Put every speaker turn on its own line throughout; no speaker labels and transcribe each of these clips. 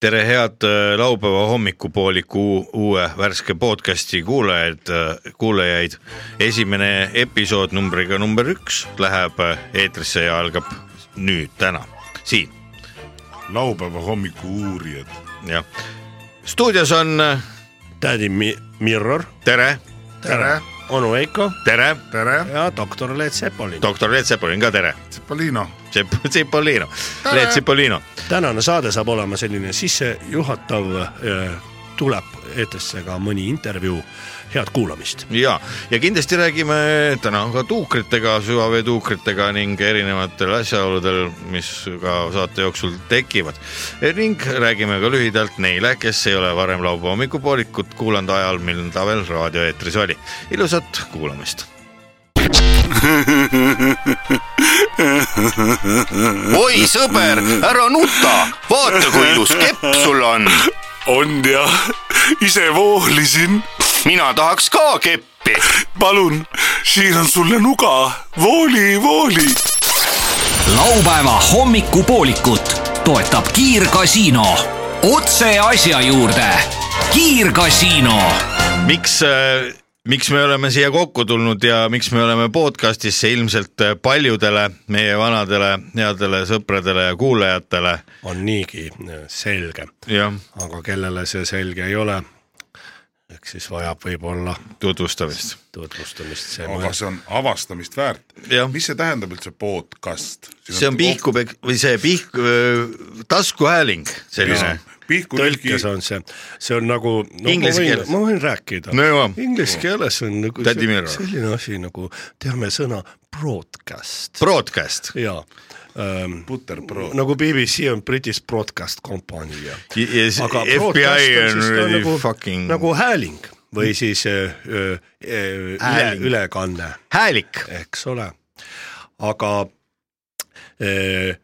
tere, head äh, laupäeva hommikupooliku uue värske podcasti kuulajad, äh, kuulajaid. esimene episood numbriga number üks läheb äh, eetrisse ja algab nüüd täna siin.
laupäeva hommiku uurijad.
jah, stuudios on äh,
tädi Mi- Mirror ,
tere,
tere,
onu Veiko
tere,
tere,
ja doktor Leet Sepolin .
doktor Leet Sepolin ka tere,
Tsepolino.
Sep- , Sepolino, Leet Sepolino
tänane saade saab olema selline sissejuhatav , tuleb eetrisse ka mõni intervjuu , head kuulamist .
ja , ja kindlasti räägime täna ka tuukritega , süvaveetuukritega ning erinevatel asjaoludel , mis ka saate jooksul tekivad . ning räägime ka lühidalt neile , kes ei ole varem laupäeva hommikupoolikut kuulanud ajal , mil ta veel raadioeetris oli . ilusat kuulamist .
oi sõber , ära nuta , vaata kui ilus kepp sul on .
on jah , ise voolisin .
mina tahaks ka keppi .
palun , siin on sulle nuga , vooli , vooli .
laupäeva hommikupoolikut toetab Kiirgasiino . otse asja juurde . kiirgasiino .
miks , miks me oleme siia kokku tulnud ja miks me oleme podcast'isse ilmselt paljudele meie vanadele headele sõpradele ja kuulajatele ,
on niigi äh, selge ,
jah ,
aga kellele see selge ei ole , eks siis vajab võib-olla
tutvustamist
tutvustamist see
aga
mõõs .
see on avastamist väärt
Jah. .
mis see tähendab üldse podcast ?
see on Pihku pek- või see Pihk , taskuhääling , selline .
Pihku
tõlkes
tõlkis on .
on see , see on nagu no, .
Inglise keeles.
ma võin rääkida
No jaa.
Inglise keeles on nagu
Tädi
se-
Mirror.
selline asi nagu teame sõna broadcast .
Broadcast
jaa ähm, .
Butterbrot.
nagu BBC on British Broadcast Company ja .
ja ja s- FBI on really fucking Mm.
nagu hääling või siis äh, äh, äh, üle,
Hääling.
ülekanne ,
häälik ,
eks ole . aga äh,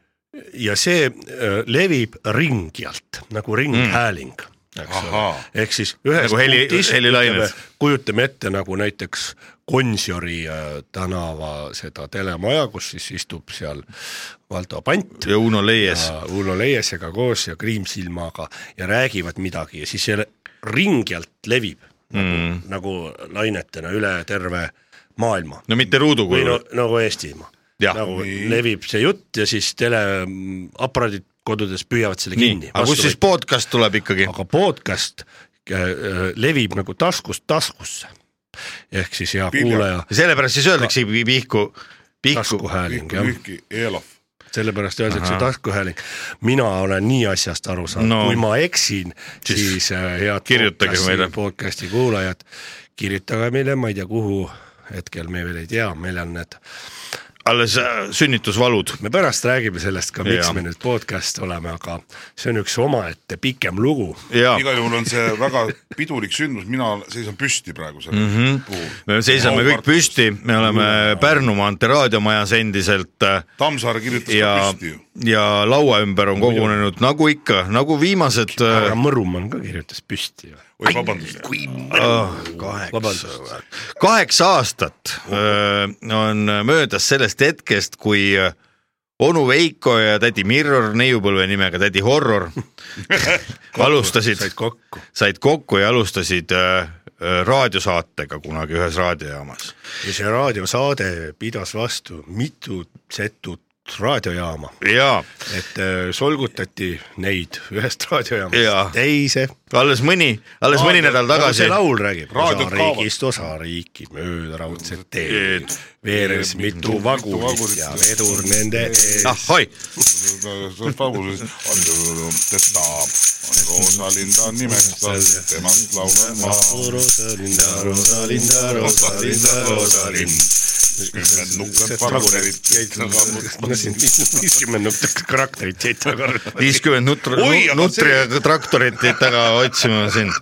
ja see äh, levib ringjalt nagu ringhääling mm. , eks ole
Ahaa.
ehk siis ühes
Nagu heli-
punktist
helilained.
ütleme- kujutame ette nagu näiteks Gonsiori äh, tänava seda telemaja , kus siis istub seal Valdo Pant
ja Uno Leies ,
ja Uno Leiesega koos ja Kriimsilmaga ja räägivad midagi ja siis see ringjalt levib mm. nagu, nagu lainetena üle terve maailma
no mitte ruudu
või no,
kujul ,
nagu Eestimaa .
Nagu- Jah.
nagu levib see jutt ja siis teleaparaadid kodudes püüavad selle
nii
kinni ,.
aga kust siis podcast tuleb ikkagi ?
aga podcast äh, äh, levib nagu taskust taskusse . ehk siis hea
Pigem.
kuulaja ,
sellepärast siis öeldakse pi- Pihku , Pihku ,
taskuhääling
Pihku
jah
Pihki Eelov .
sellepärast öeldakse taskuhääling . mina olen nii asjast aru saanud
No.
no. , kui ma eksin , siis, siis äh, head
kirjutage
podcasti-
meile.
podcasti kuulajad , kirjutage meile , ma ei tea , kuhu hetkel me veel ei tea , meil on need ,
alles äh, sünnitusvalud ,
me pärast räägime sellest ka , miks
Jaa.
ja. me nüüd podcast oleme , aga see on üks omaette pikem lugu .
jaa ,
igal juhul on see väga pidulik sündmus , mina seisan püsti praegu selle mm
Mhm.
-hmm. puhul .
me seisame kõik . püsti , me oleme Pärnu maantee raadiomajas endiselt äh,
Tammsaare kirjutas ka
ja
püsti ju .,
ja laua ümber on kogunenud nagu ikka , nagu viimased äh,
härra Mõrumann ka kirjutas püsti ju .
oi vabandust ,
vabandust ,
kaheksa aastat öö, on möödas sellest hetkest , kui äh, onu Veiko ja tädi Mirror , neiupõlve nimega tädi Horror alustasid ,
said kokku .
said kokku ja alustasid öö, öö, raadiosaatega kunagi ühes raadiojaamas .
ja see raadiosaade pidas vastu mitu setut raadiojaama
ja
et äh, solgutati neid ühest
Jaa.
raadiojaamast teise .
alles mõni , alles mõni nädal tagasi
nagu see laul räägib
Raadiod
osariigist osariiki mööda raudset teed , veeres mitu vagunit ja vedur nende ees .
ahoi ,
pauguses on teda , on Roosalinn ta nimeks , temast laulan ma .
Rosalinda , Rosalinda , Rosalinda , Rosalind .
kümned nukrad partnerid ,
nagu-
kõik on kammutatud .
viiskümmend nutt- karakterit jäid taga .
viiskümmend nutri
Oi, , aga
nutri ja traktorit jäid taga otsima sind .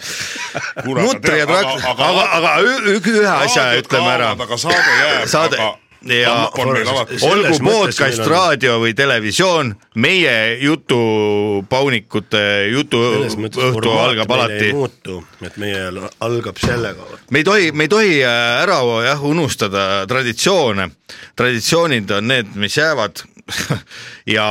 nutri ja traktor , aga , aga, aga ü- ü- ühe asja ütleme ära
aga saade jääb ,
saade
aga
ja
napp on meil alati
Ol-
olgu
Selles mõttes
podcast ,
meil on-
raadio või televisioon , meie jutupaunikute jutuõhtu algab alati , Äh.
muutu , et meie l- algab sellega .
me ei tohi , me ei tohi eh, ära jah unustada traditsioone . traditsioonid on need , mis jäävad ja ,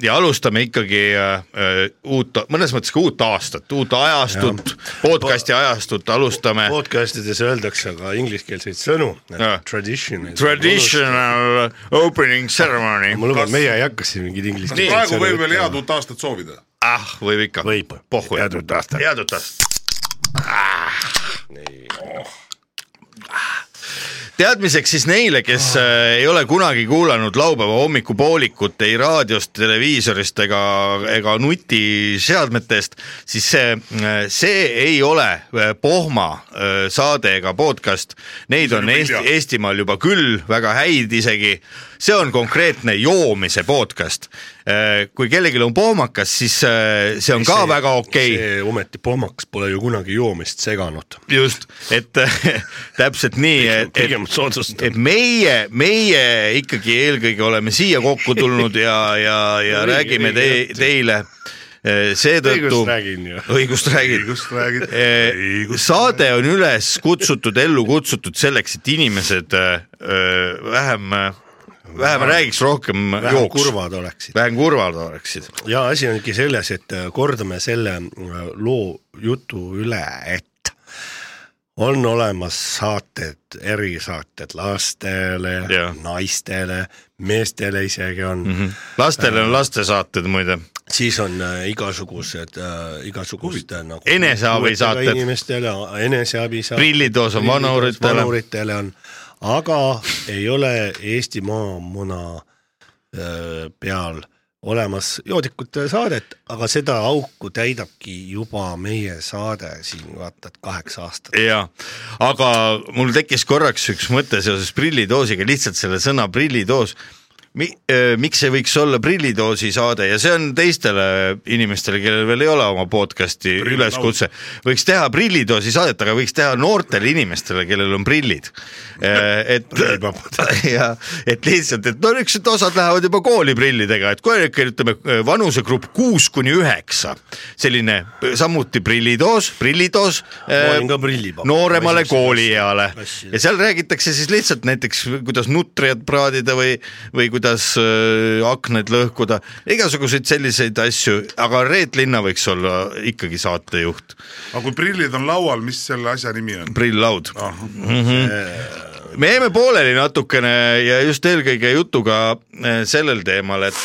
ja alustame ikkagi äh, äh, uut , mõnes mõttes ka uut aastat , uut ajastut , podcast'i ajastut alustame .
podcastides öeldakse ka ingliskeelseid sõnu
Jaa. .
Tradition .
Traditional opening ceremony .
ma luban , meie ei hakka siin mingeid
Nii.
ingliskeelseid
praegu võib veel head uut aastat soovida .
ah , võib ikka .
Võib.
pohhu
Head uut aastat.
head uut aastat . teadmiseks siis neile , kes
Ah.
äh, ei ole kunagi kuulanud laupäeva hommikupoolikut ei raadiost , televiisorist ega , ega nutiseadmetest , siis see , see ei ole äh, pohma äh, saade ega podcast . Neid on Eesti , Eestimaal juba küll , väga häid isegi . see on konkreetne joomise podcast . kui kellelgi on pohmakas , siis äh, see on ka väga okei okay. .
see ometi pomaks pole ju kunagi joomist seganud .
just , et täpselt nii , et, et
pigem soodsust .
et meie , meie ikkagi eelkõige oleme siia kokku tulnud ja , ja , ja
Õige-
räägime te,
õige jutt.
teile eh, seetõttu
õigust . räägin ju .
õigust räägid .
õigust räägid. Õigust
saade on üles kutsutud , ellu kutsutud selleks , et inimesed eh, eh, vähem , vähem räägiks , rohkem
vähem
jooks ,
kurvad oleksid .
vähem kurvad oleksid .
ja asi ongi selles , et kordame selle äh, loo jutu üle , et on olemas saated , erisaated lastele
Jah. ,
naistele , meestele isegi on
Mhm.
mm , -hmm.
lastele on lastesaated muide ,
siis on äh, igasugused äh, , igasugused äh, nagu
Eneseabisaated.
puuetega inimestele , eneseabisaated .
Prillitoos on vanuritele.
vanuritele on , aga ei ole Eesti maamuna äh, peal olemas joodikute saadet , aga seda auku täidabki juba meie saade siin , vaata , et kaheksa aastat .
jaa , aga mul tekkis korraks üks mõte seoses prillidoosiga , lihtsalt selle sõna prillidoos . Mi- , miks ei võiks olla prillidoosi saade ja see on teistele inimestele , kellel veel ei ole oma podcast'i üleskutse , võiks teha prillidoosi saadet , aga võiks teha noortele inimestele , kellel on prillid . et ja et lihtsalt , et no eks need osad lähevad juba kooli prillidega , et kui ütleme vanusegrupp kuus kuni üheksa , selline samuti äh, prillidoos , prillidoos
Ma olin ka prillipapa.
Ehm, nooremale
Esimesse
koolieale
klassi.
ja seal räägitakse siis lihtsalt näiteks , kuidas nutriat praadida või , või kuidas äh, aknaid lõhkuda , igasuguseid selliseid asju , aga Reet Linna võiks olla ikkagi saatejuht ,
aga kui prillid on laual , mis selle asja nimi on ?
Prill Laud .
Ah,
me jäime pooleli natukene ja just eelkõige jutuga äh, sellel teemal , et ,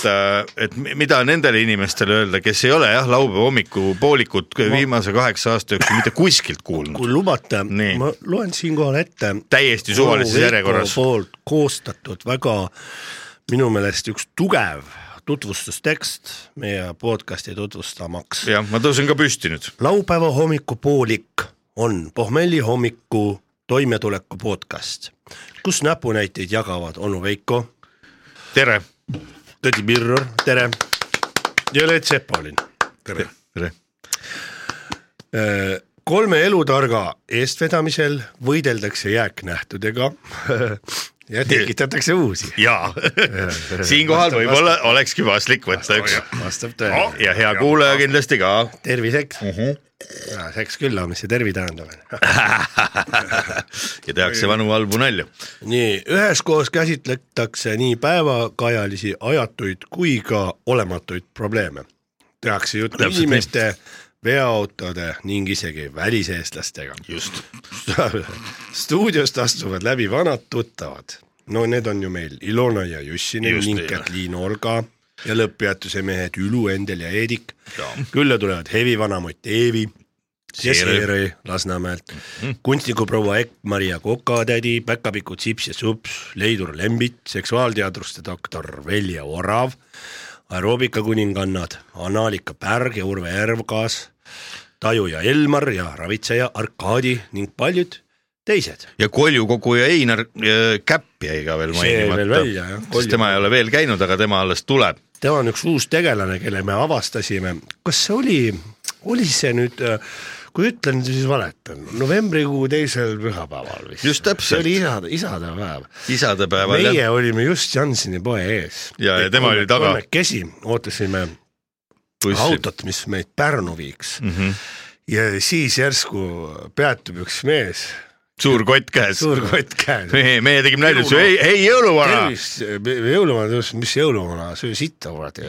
et mi- mida nendele inimestele öelda , kes ei ole jah , laupäeva hommikupoolikut viimase kaheksa aasta jooksul mitte kuskilt kuulnud ,
kui lubate ,
Nii.
ma loen siinkohal ette
täiesti suvalises
Veiko
järjekorras .
poolt koostatud väga minu meelest üks tugev tutvustustekst meie podcast'i tutvustamaks .
jah , ma tõusen ka püsti nüüd
laupäeva hommikupoolik on pohmelli hommiku toimetuleku podcast , kus näpunäiteid jagavad onu Veiko ,
tere .
Tõdi Mirror , tere , ja Leet Sepolin .
tere .
tere .
Äh, kolme elutarga eestvedamisel võideldakse jääknähtudega ja tekitatakse uusi .
jaa , siinkohal võib-olla olekski paslik võtta üks
vastab tõele .
ja hea kuulaja kindlasti ka .
terviseks uh . -huh. seks küll , aga mis see tervi tähendab , on ju .
ja tehakse vanu halbu nalju .
nii , üheskoos käsitletakse nii päevakajalisi ajatuid kui ka olematuid probleeme . tehakse juttu
Täpselt nii.
inimeste , veoautode ning isegi väliseestlastega .
just .
stuudiost astuvad läbi vanad tuttavad . no need on ju meil Ilona ja Jussinen
Just nii.
ning Kätliin Olga ja lõpppeatuse mehed Ülu , Endel ja Eedik . külla tulevad Hevi vanamutt Eevi ja
Seere. Mhm.
Seere Lasnamäelt mm. , kunstnikuproua Ekk-Maria Kokatädi , Päkapiku Tsips ja Sups , Leidur Lembit , seksuaalteadruste doktor Velja Orav , aeroobikakuningannad Annalika Pärg ja Urve Ervkaas , Taju ja Elmar ja ravitseja Arkadi ning paljud teised .
ja koljukoguja Einar äh, Käpp jäi ka veel
See jäi veel
mainimata
välja, jah. ,
sest tema ei ole veel käinud , aga tema alles tuleb .
tema on üks uus tegelane , kelle me avastasime , kas see oli , oli see nüüd , kui ütlen , siis valetan , novembrikuu teisel pühapäeval vist .
Just täpselt.
see oli isade , isadepäev .
isadepäeval
meie
jah ,
olime just Jansini poe ees .
Ja- ja tema oli taga.
kolmekesi ootasime
bussi .
autot , mis meid
Mhm.
Pärnu viiks mm . -hmm. ja siis järsku peatub üks mees
suur kott käes .
suur kott käes .
meie meie tegime näidetuse , ei , ei jõuluvana ,
tervist , jõuluvana tõus , mis jõuluvana , söö sitta kuradi .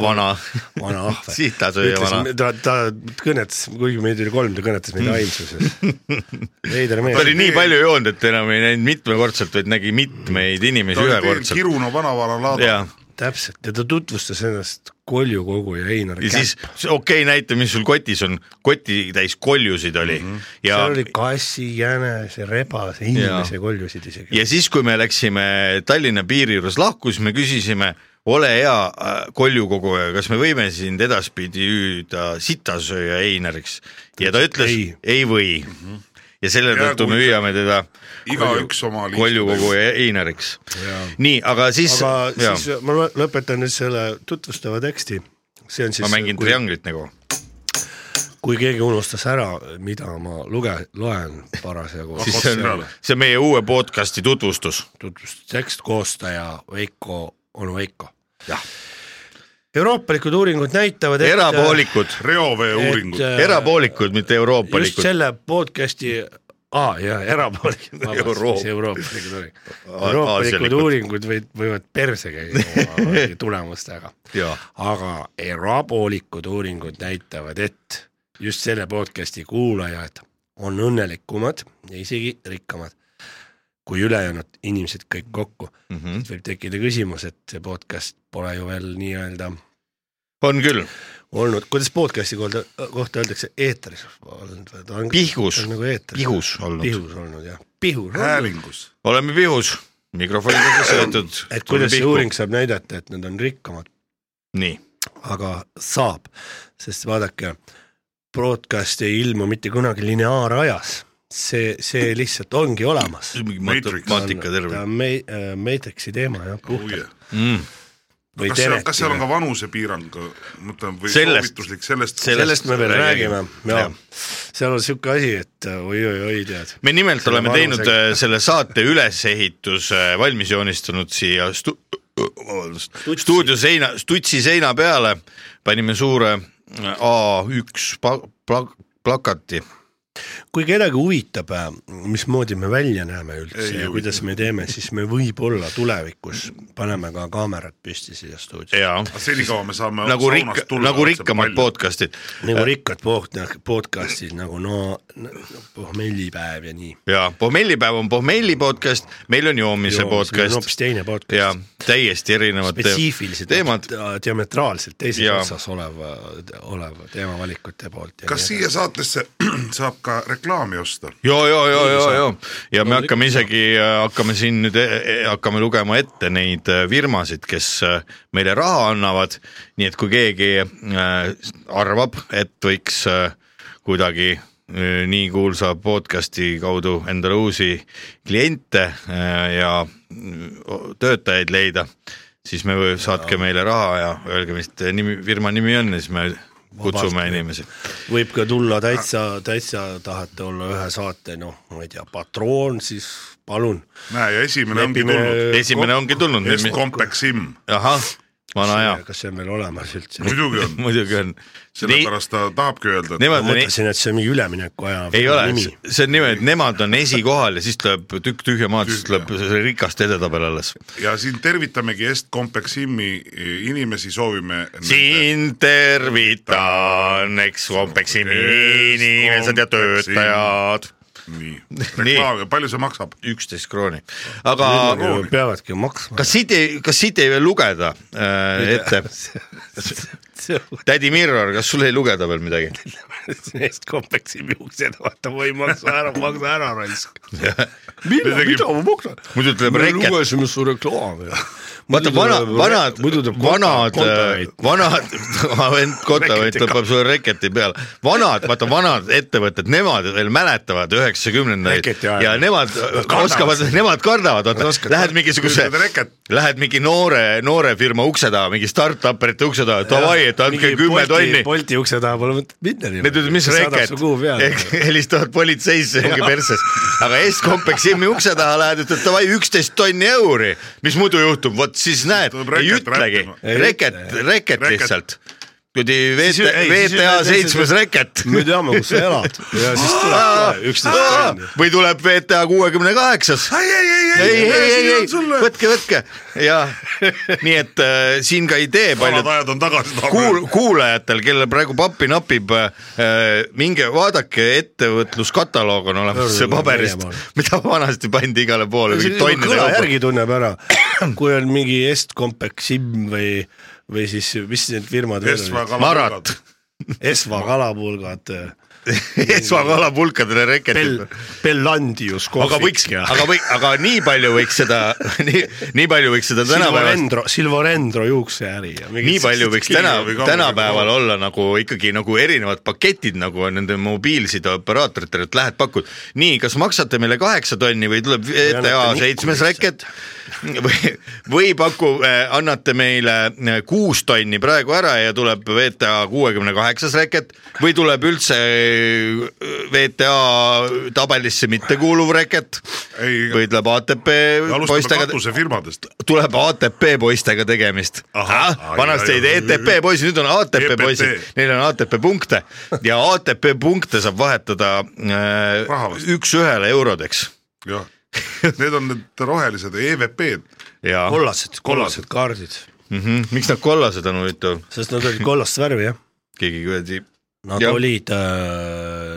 vana ,
vana ahve .
Sita sööja vana. .
ta , ta kõnetas , kuigi meid oli kolm , ta kõnetas meid ainsuses . veider mees .
ta oli nii palju joonud , et enam ei näinud mitmekordselt , vaid nägi mitmeid inimesi ühekordselt .
Kiruna vanavara laadal .
ja ,
täpselt ja ta tutvustas ennast Kolju koguja Einar
ja siis
Käpp .
okei okay, , näita , mis sul kotis on , kotitäis koljusid oli mm -hmm. ja
seal oli kassi , jänese , rebase , inimese koljusid isegi .
ja siis , kui me läksime Tallinna piiri juures lahku , siis me küsisime , ole hea äh, koljukoguja , kas me võime sind edaspidi hüüda sitasööja Einariks ja ta ütles ei,
Ei.
ei või ja selle
Ja
tõttu me
kui-
hüüame teda
igaüks oma liistu-
koljukoguja Einariks . nii , aga siis ,
aga
jaa,
siis ma lõ- lõpetan nüüd selle tutvustava teksti . see on siis
ma , mängin
kui,
trianglit nagu .
kui keegi unustas ära , mida ma luge- , loen parasjagu .
siis see on , see on meie uue podcast'i tutvustus .
tutvustustekst , koostaja Veiko , onu Veiko . euroopalikud uuringud näitavad , et äh,
erapoolikud ,
reovee uuringud
et , äh,
erapoolikud , mitte
just
euroopalikud .
selle podcast'i , aa jaa , erapoolikud ,
Euroop-
vabandust , euroopalikud uuringud .
A-
euroopalikud
aasialikud.
uuringud võid , võivad perse käia oma mingi tulemustega .
jaa ,
aga erapoolikud uuringud näitavad , et just selle podcast'i kuulajad on õnnelikumad ja isegi rikkamad kui ülejäänud inimesed kõik kokku mm .
Mhm.
-hmm. võib tekkida küsimus , et see podcast pole ju veel nii-öelda
on küll ,
olnud , kuidas podcast'i kohta , kohta öeldakse , eetris olnud või ta on
Pihkus.
ta on nagu eetris .
Pihus olnud.
pihus olnud jah , pihus olnud .
häälingus .
oleme pihus , mikrofonidega seotud .
et kuidas see uuring saab näidata , et nad on rikkamad ,
nii
aga saab , sest vaadake , broadcast ei ilmu mitte kunagi lineaarajas , see , see lihtsalt ongi olemas .
see on mingi
Matrix.
mat- matika terve
ta . on me- , Matrixi teema jah , puhtalt . või
kas seal ,
Tenet .
kas seal on ka vanusepiirang , ma mõtlen , või
Sellest.
soovituslik sellest,
Sellest
sellest me veel
räägime.
räägime , jaa
Jah. .
seal on sihuke asi , et äh, oi-oi-oi , tead .
me nimelt
Selle
oleme
vanusega.
teinud äh, selle saate ülesehituse valmis joonistanud siia stu- , vabandust , stuudio seina , stutsi seina peale panime suure äh, A1 pa- pla- plakati ,
kui kedagi huvitab , mismoodi me välja näeme üldse
Ei
ja kuidas me teeme , siis me võib-olla tulevikus paneme ka kaamerad püsti siia stuudiosse .
jaa ,
aga senikaua me saame
nagu rikk- , nagu rikkamad . podcast'id
nagu rikkad pood- , podcast'id nagu no, no pohmellipäev ja nii .
ja Pohmellipäev on Pohmelli podcast , meil on joomise
on
podcast
hoopis teine podcast .
ja täiesti erinevad te-
spetsiifiliselt äh,
teemad ,
diametraalselt teises
Jaa.
otsas oleva , oleva teemavalikute poolt .
kas siia saatesse saab ka reklaami osta ?
ja , ja , ja , ja , ja , ja me hakkame isegi , hakkame siin nüüd , hakkame lugema ette neid äh, firmasid , kes äh, meile raha annavad . nii et kui keegi äh, arvab , et võiks äh, kuidagi äh, nii kuulsa podcast'i kaudu endale uusi kliente äh, ja mm, töötajaid leida , siis me või- saatke meile raha ja öelge , mis te nimi , firma nimi on ja siis me kutsume inimesi .
võib ka tulla
Ah.
täitsa , täitsa tahate olla ühe saate , noh , ma ei tea , patroon , siis palun .
näe ja esimene ongi
Lepime-
tulnud ,
esimene ongi tulnud ,
just Compexim ,
ahah , vana hea
kas see on veel olemas üldse ?
muidugi on ,
muidugi on .
sellepärast ta tahabki öelda , et
Nemad
ma
on ,
mõtlesin , et see on mingi üleminekuaja .
ei ole , see on niimoodi , et nemad on esikohal ja siis tuleb tükk tühja maad , siis
Tühja.
tuleb see rikaste edetabel alles .
ja siin tervitamegi Est Compeximi e, inimesi , soovime .
siin tervitan , eks kompeksini inimesed ja töötajad .
nii , reklaam , palju see maksab ?
üksteist krooni , aga
nagu peavadki maksma .
kas siit ei , kas siit ei veel lugeda äh, ette ? tädi Mirror , kas sul ei lugeda veel midagi ?
Neist kompleksi juuksed , vaata ma ei maksa ära , maksa ära raisk .
Me tegime-
mida ma maksan ?
muidu tuleb reket.
lugesime su reklaami .
vaata vana , vanad , vanad , äh, vanad , vend Kotaveit
Reketiga.
tõmbab sulle reketi peale , vanad , vaata vanad ettevõtted , nemad veel mäletavad üheksakümnendaid
Reketi ajal.
ja nemad
kardavad
oskavad , nemad kardavad , vaata , lähed mingisuguse
Ütled reket. ,
lähed mingi noore , noore firma ukse taha , mingi startup'ite ukse taha , davai , et andke kümme tonni .
Bolti ukse taha pole mõtet minna .
Need ütlevad , mis reket , helistavad politseisse , ongi perses . aga S-Compeximi ukse taha lähed , ütled davai üksteist tonni euri , mis muidu juhtub , vot siis näed
Tuleb ,
ei
reket
ütlegi
räppima. ,
reket , reket
Reket.
lihtsalt . kuradi
ju-
VT-
ei, siis ju
VTA
need teised-
seitsmes reket .
me teame , kus sa elad ja siis tuleb kohe üksteist tundi .
või tuleb VTA kuuekümne kaheksas . ei , ei , ei , ei , ei , ei , ei , võtke , võtke ja nii et äh, siin ka idee
vanad
paljud
ajad on tagasi
kuul- , kuulajatel , kellel praegu pappi napib äh, , minge vaadake , ettevõtluskataloog on olemas see paberist , mida vanasti pandi igale poole .
see juba kõla järgi tunneb ära , kui on mingi Est-Compact Sim või , või siis mis need firmad veel olid ,
marat ,
Esva kalapulgad , äh,
esmakalapulkadele
Bel-
reketid .,
Bellandius
aga võiks ,
kohvik ja
aga või , aga nii palju võiks seda , nii , nii palju võiks seda tänapäevast
Silvorendro , Silvorendro juukseäri ja mingid
nii palju võiks
Kivi
täna
või , kammu-
tänapäeval olla nagu ikkagi nagu erinevad paketid , nagu on nende mobiilsideoperaatoritele , et lähed pakud , nii , kas maksate meile kaheksa tonni või tuleb ETA
annate
seitsmes reket või , või paku , annate meile eh, kuus tonni praegu ära ja tuleb VTA kuuekümne kaheksas reket või tuleb üldse eh, VTA tabelisse mittekuuluv reket
Ei,
või tuleb ATP
alustame
poistega
katusefirmadest .
tuleb ATP poistega tegemist .
Ahah.
vanasti
Ai,
olid
ai, ai.
ETP poisid , nüüd on ATP
EPP.
poisid , neil on ATP punkte ja ATP punkte saab vahetada
Raha
äh,
vastu.
üks-ühele eurodeks .
jah , need on need rohelised
E
EVP-d .
ja
kollased , kollased kaardid ,
mm -hmm. miks nad kollased on huvitav ,
sest nad olid kollast värvi jah .
keegi kuradi
Nad
Jah.
olid ,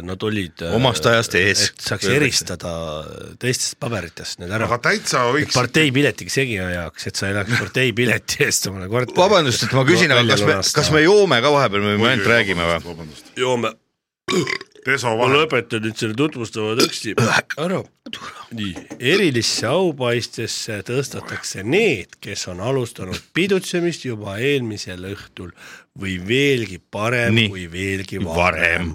nad olid äh,
Omast ajast ees.
et saaks eristada teistest paberitest need ära
aga . täitsa võiks ,
parteipiletiga segi ajaks , et sa ei läheks parteipileti eest omale korteri .
vabandust , et ma küsin , aga kas me , kas me joome ka vahepeal või me ainult räägime või ?
vabandust ,
joome ,
deso
ma
vahel ,
lõpetan nüüd selle tutvustava teksti ära . nii , erilisse aupaistesse tõstetakse need , kes on alustanud pidutsemist juba eelmisel õhtul või veelgi parem
Nii.
nii. või veelgi varem,
varem ,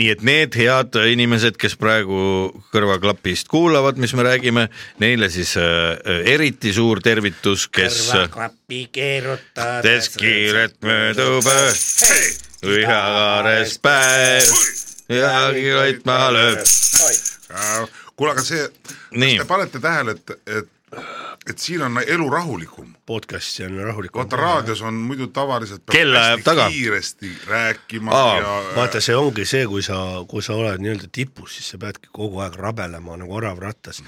nii et need head inimesed , kes praegu kõrvaklapist kuulavad , mis me räägime , neile siis äh, eriti suur tervitus , kes äh,
kõrvaklapi keerutades
tees kiiret möödub öö , vihakaares päev , midagi vaid ma lööb .
Äh, kuule , aga see ,
Nii.
kas te panete tähele , et , et , et siin on elu rahulikum ?
podcast'i on rahulikum .
vaata raadios on muidu tavaliselt peab
Kell ajab
hästi
taga.
kiiresti rääkima
Aa,
Aa, ja äh,
vaata , see ongi see , kui sa , kui sa oled nii-öelda tipus , siis sa peadki kogu aeg rabelema nagu orav rattas .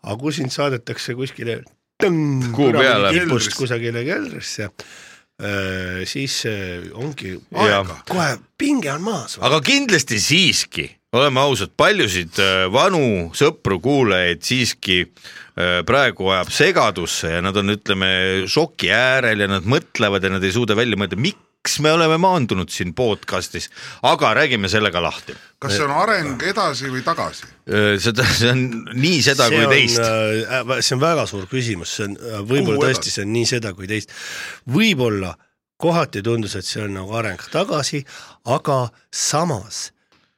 aga kui sind saadetakse kuskile tõmm,
Kuu
kuradi
peale.
tipust
Keldrisse.
kusagile keldrisse , siis öö, ongi
Jaa.
aega , kohe pinge on maas .
aga kindlasti siiski , oleme ausad , paljusid äh, vanu sõpru-kuulajaid siiski äh, praegu ajab segadusse ja nad on , ütleme , šoki äärel ja nad mõtlevad ja nad ei suuda välja mõelda , miks me oleme maandunud siin podcast'is , aga räägime selle ka lahti .
kas see on areng edasi või tagasi ?
Äh, seda , see on äh, nii seda
see
kui teist .
on , see on väga suur küsimus , see on äh,
Kuhu
võib-olla tõesti ,
edasi?
see on nii seda kui teist . võib-olla kohati tundus , et see on nagu areng tagasi , aga samas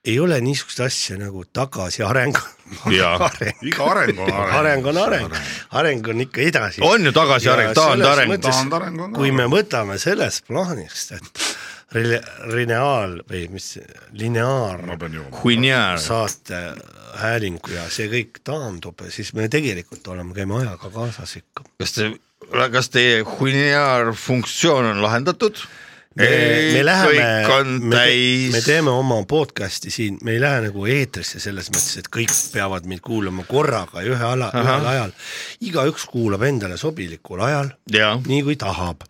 ei ole niisugust asja nagu tagasiareng .
Jaa.
iga areng on areng .
areng on areng , areng on ikka edasi .
on ju tagasiareng ,
Ja
taandareng
selles mõttes-
taandareng on
kui
areng .
me võtame sellest plaanist , et rele- lineaal või mis , lineaar
ma pean jooma .
Huinjar .
saate häälingu ja see kõik taandub , siis me tegelikult oleme , käime ajaga kaasas ikka .
kas te , kas teie Huinjar funktsioon on lahendatud ?
me, me
kõik on
läheme , me, te- me
täis .
teeme oma podcast'i siin , me ei lähe nagu eetrisse selles mõttes , et kõik peavad meid kuulama korraga ja ühe ala , ühel ajal . igaüks kuulab endale sobilikul ajal ,
jaa ,
nii kui tahab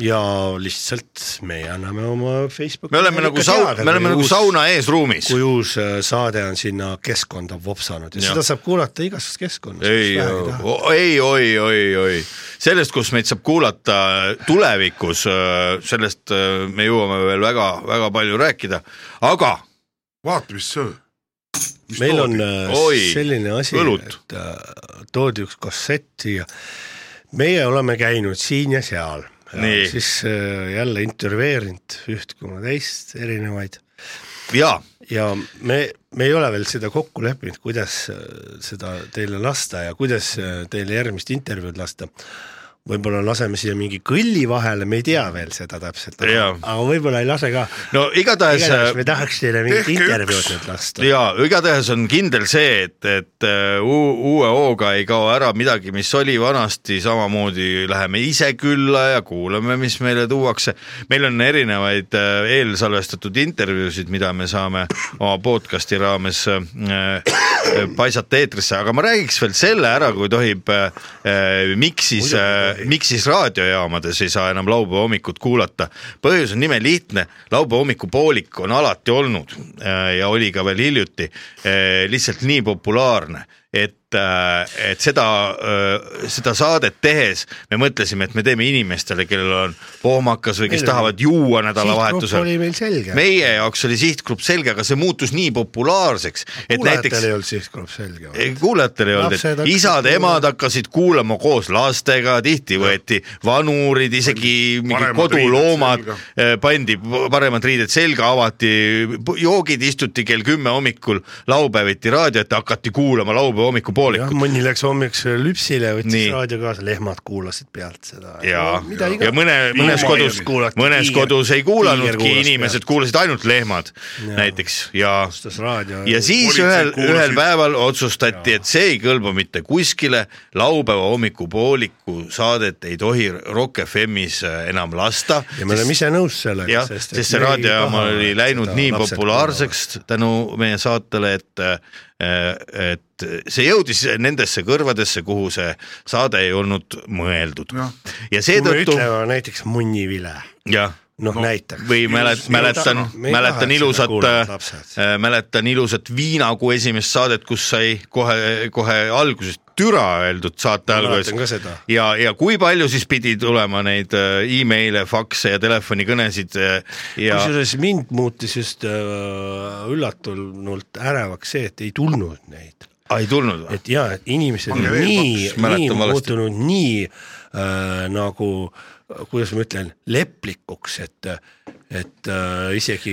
ja lihtsalt me anname oma Facebooki .
me oleme nagu sau- , me oleme nagu . sauna ees ruumis .
kui uus äh, saade on sinna keskkonda vopsanud ja,
Jah.
ja. seda saab kuulata igas keskkonnas .
ei , ei , oi , oi , oi , sellest , kus meid saab kuulata äh, tulevikus , sellest äh, me jõuame veel väga-väga palju rääkida , aga
vaata , mis söö .
meil on äh,
Oi,
selline asi ,
õlut.
et äh, toodi üks kassett ja meie oleme käinud siin ja seal .
Nii.
siis äh, jälle intervjueerinud üht koma teist erinevaid
jaa ,
ja me , me ei ole veel seda kokku leppinud , kuidas äh, seda teile lasta ja kuidas äh, teile järgmist intervjuud lasta . võib-olla laseme siia mingi kõlli vahele , me ei tea veel seda täpselt , aga,
Jaa.
aga võib-olla ei lase ka .
no igatahes äh,
igatahes me tahaks teile mingit
tehke üks.
intervjuud nüüd lasta .
ja igatahes on kindel see , et , et äh, uu- uue hooga ei kao ära midagi , mis oli vanasti , samamoodi läheme ise külla ja kuulame , mis meile tuuakse . meil on erinevaid äh, eelsalvestatud intervjuusid , mida me saame oma podcast'i raames äh, äh, paisata eetrisse , aga ma räägiks veel selle ära , kui tohib , miks siis , äh, miks siis raadiojaamades ei saa enam laupäeva hommikut kuulata . põhjus on nime lihtne , laupäeva hommikupoolik on alati olnud äh, ja oli ka veel hiljuti äh, lihtsalt nii populaarne , et , et seda , seda saadet tehes me mõtlesime , et me teeme inimestele , kellel on pohmakas või kes
Meil oli-
tahavad juua nädalavahetusel
oli . meil selge .
meie jaoks oli sihtgrupp selge , aga see muutus nii populaarseks , et näiteks
kuulajatel ei olnud sihtgrupp selge .
ei kuulajatel ei olnud ,
Lapsed
et
hakkasid
isad-emad hakkasid kuulama koos lastega , tihti võeti vanurid , isegi mingid
Paremad
koduloomad
riided ,
pandi p- paremad riided selga , avati , joogid istuti kell kümme hommikul laupäeviti raadio ette , hakati kuulama laupäeva
jah ,
hommikupoolikut
mõni läks hommiks lüpsile , võttis
Nii.
raadio kaasa , lehmad kuulasid pealt seda .
ja ,
mida
ja
iganes .
mõne , mõnes
Tiiger
kodus
kuulati, ,
mõnes
tiiger-
kodus ei
tiiger
kuulanudki
kuulas ,
inimesed
pealt.
kuulasid ainult lehmad
Jaa.
näiteks ja
alustas raadio .
ja siis
politsei
ühel ,
kuulasid-
ühel päeval otsustati , et see ei kõlba mitte kuskile , laupäeva hommikupooliku saadet ei tohi Rock FM-is enam lasta .
ja me oleme ise nõus sellega
jah ,, sest see raadiojaam oli läinud nii populaarseks tänu meie saatele , et äh, et see jõudis nendesse kõrvadesse , kuhu see saade ei olnud mõeldud . ja
kui me
seetõttu ,
ütleme näiteks munnivile ,
jah
noh no, näiteks .
või mälet- , mäletan , mäletan ilusat , äh, mäletan ilusat Viina kui esimest saadet , kus sai kohe , kohe alguses türa öeldud saate
Ma
alguses
mäletan ka seda.
ja , ja kui palju siis pidi tulema neid äh, email'e , fakse ja telefonikõnesid äh, ja
kusjuures mind muutis just äh, üllatunult ärevaks see , et ei tulnud neid ,
ah, ei tulnud või ?
et ja et inimesed on
veel
nii ,
mäletan
nii
valesti.
muutunud nii äh, nagu , kuidas ma ütlen , leplikuks , et et äh, isegi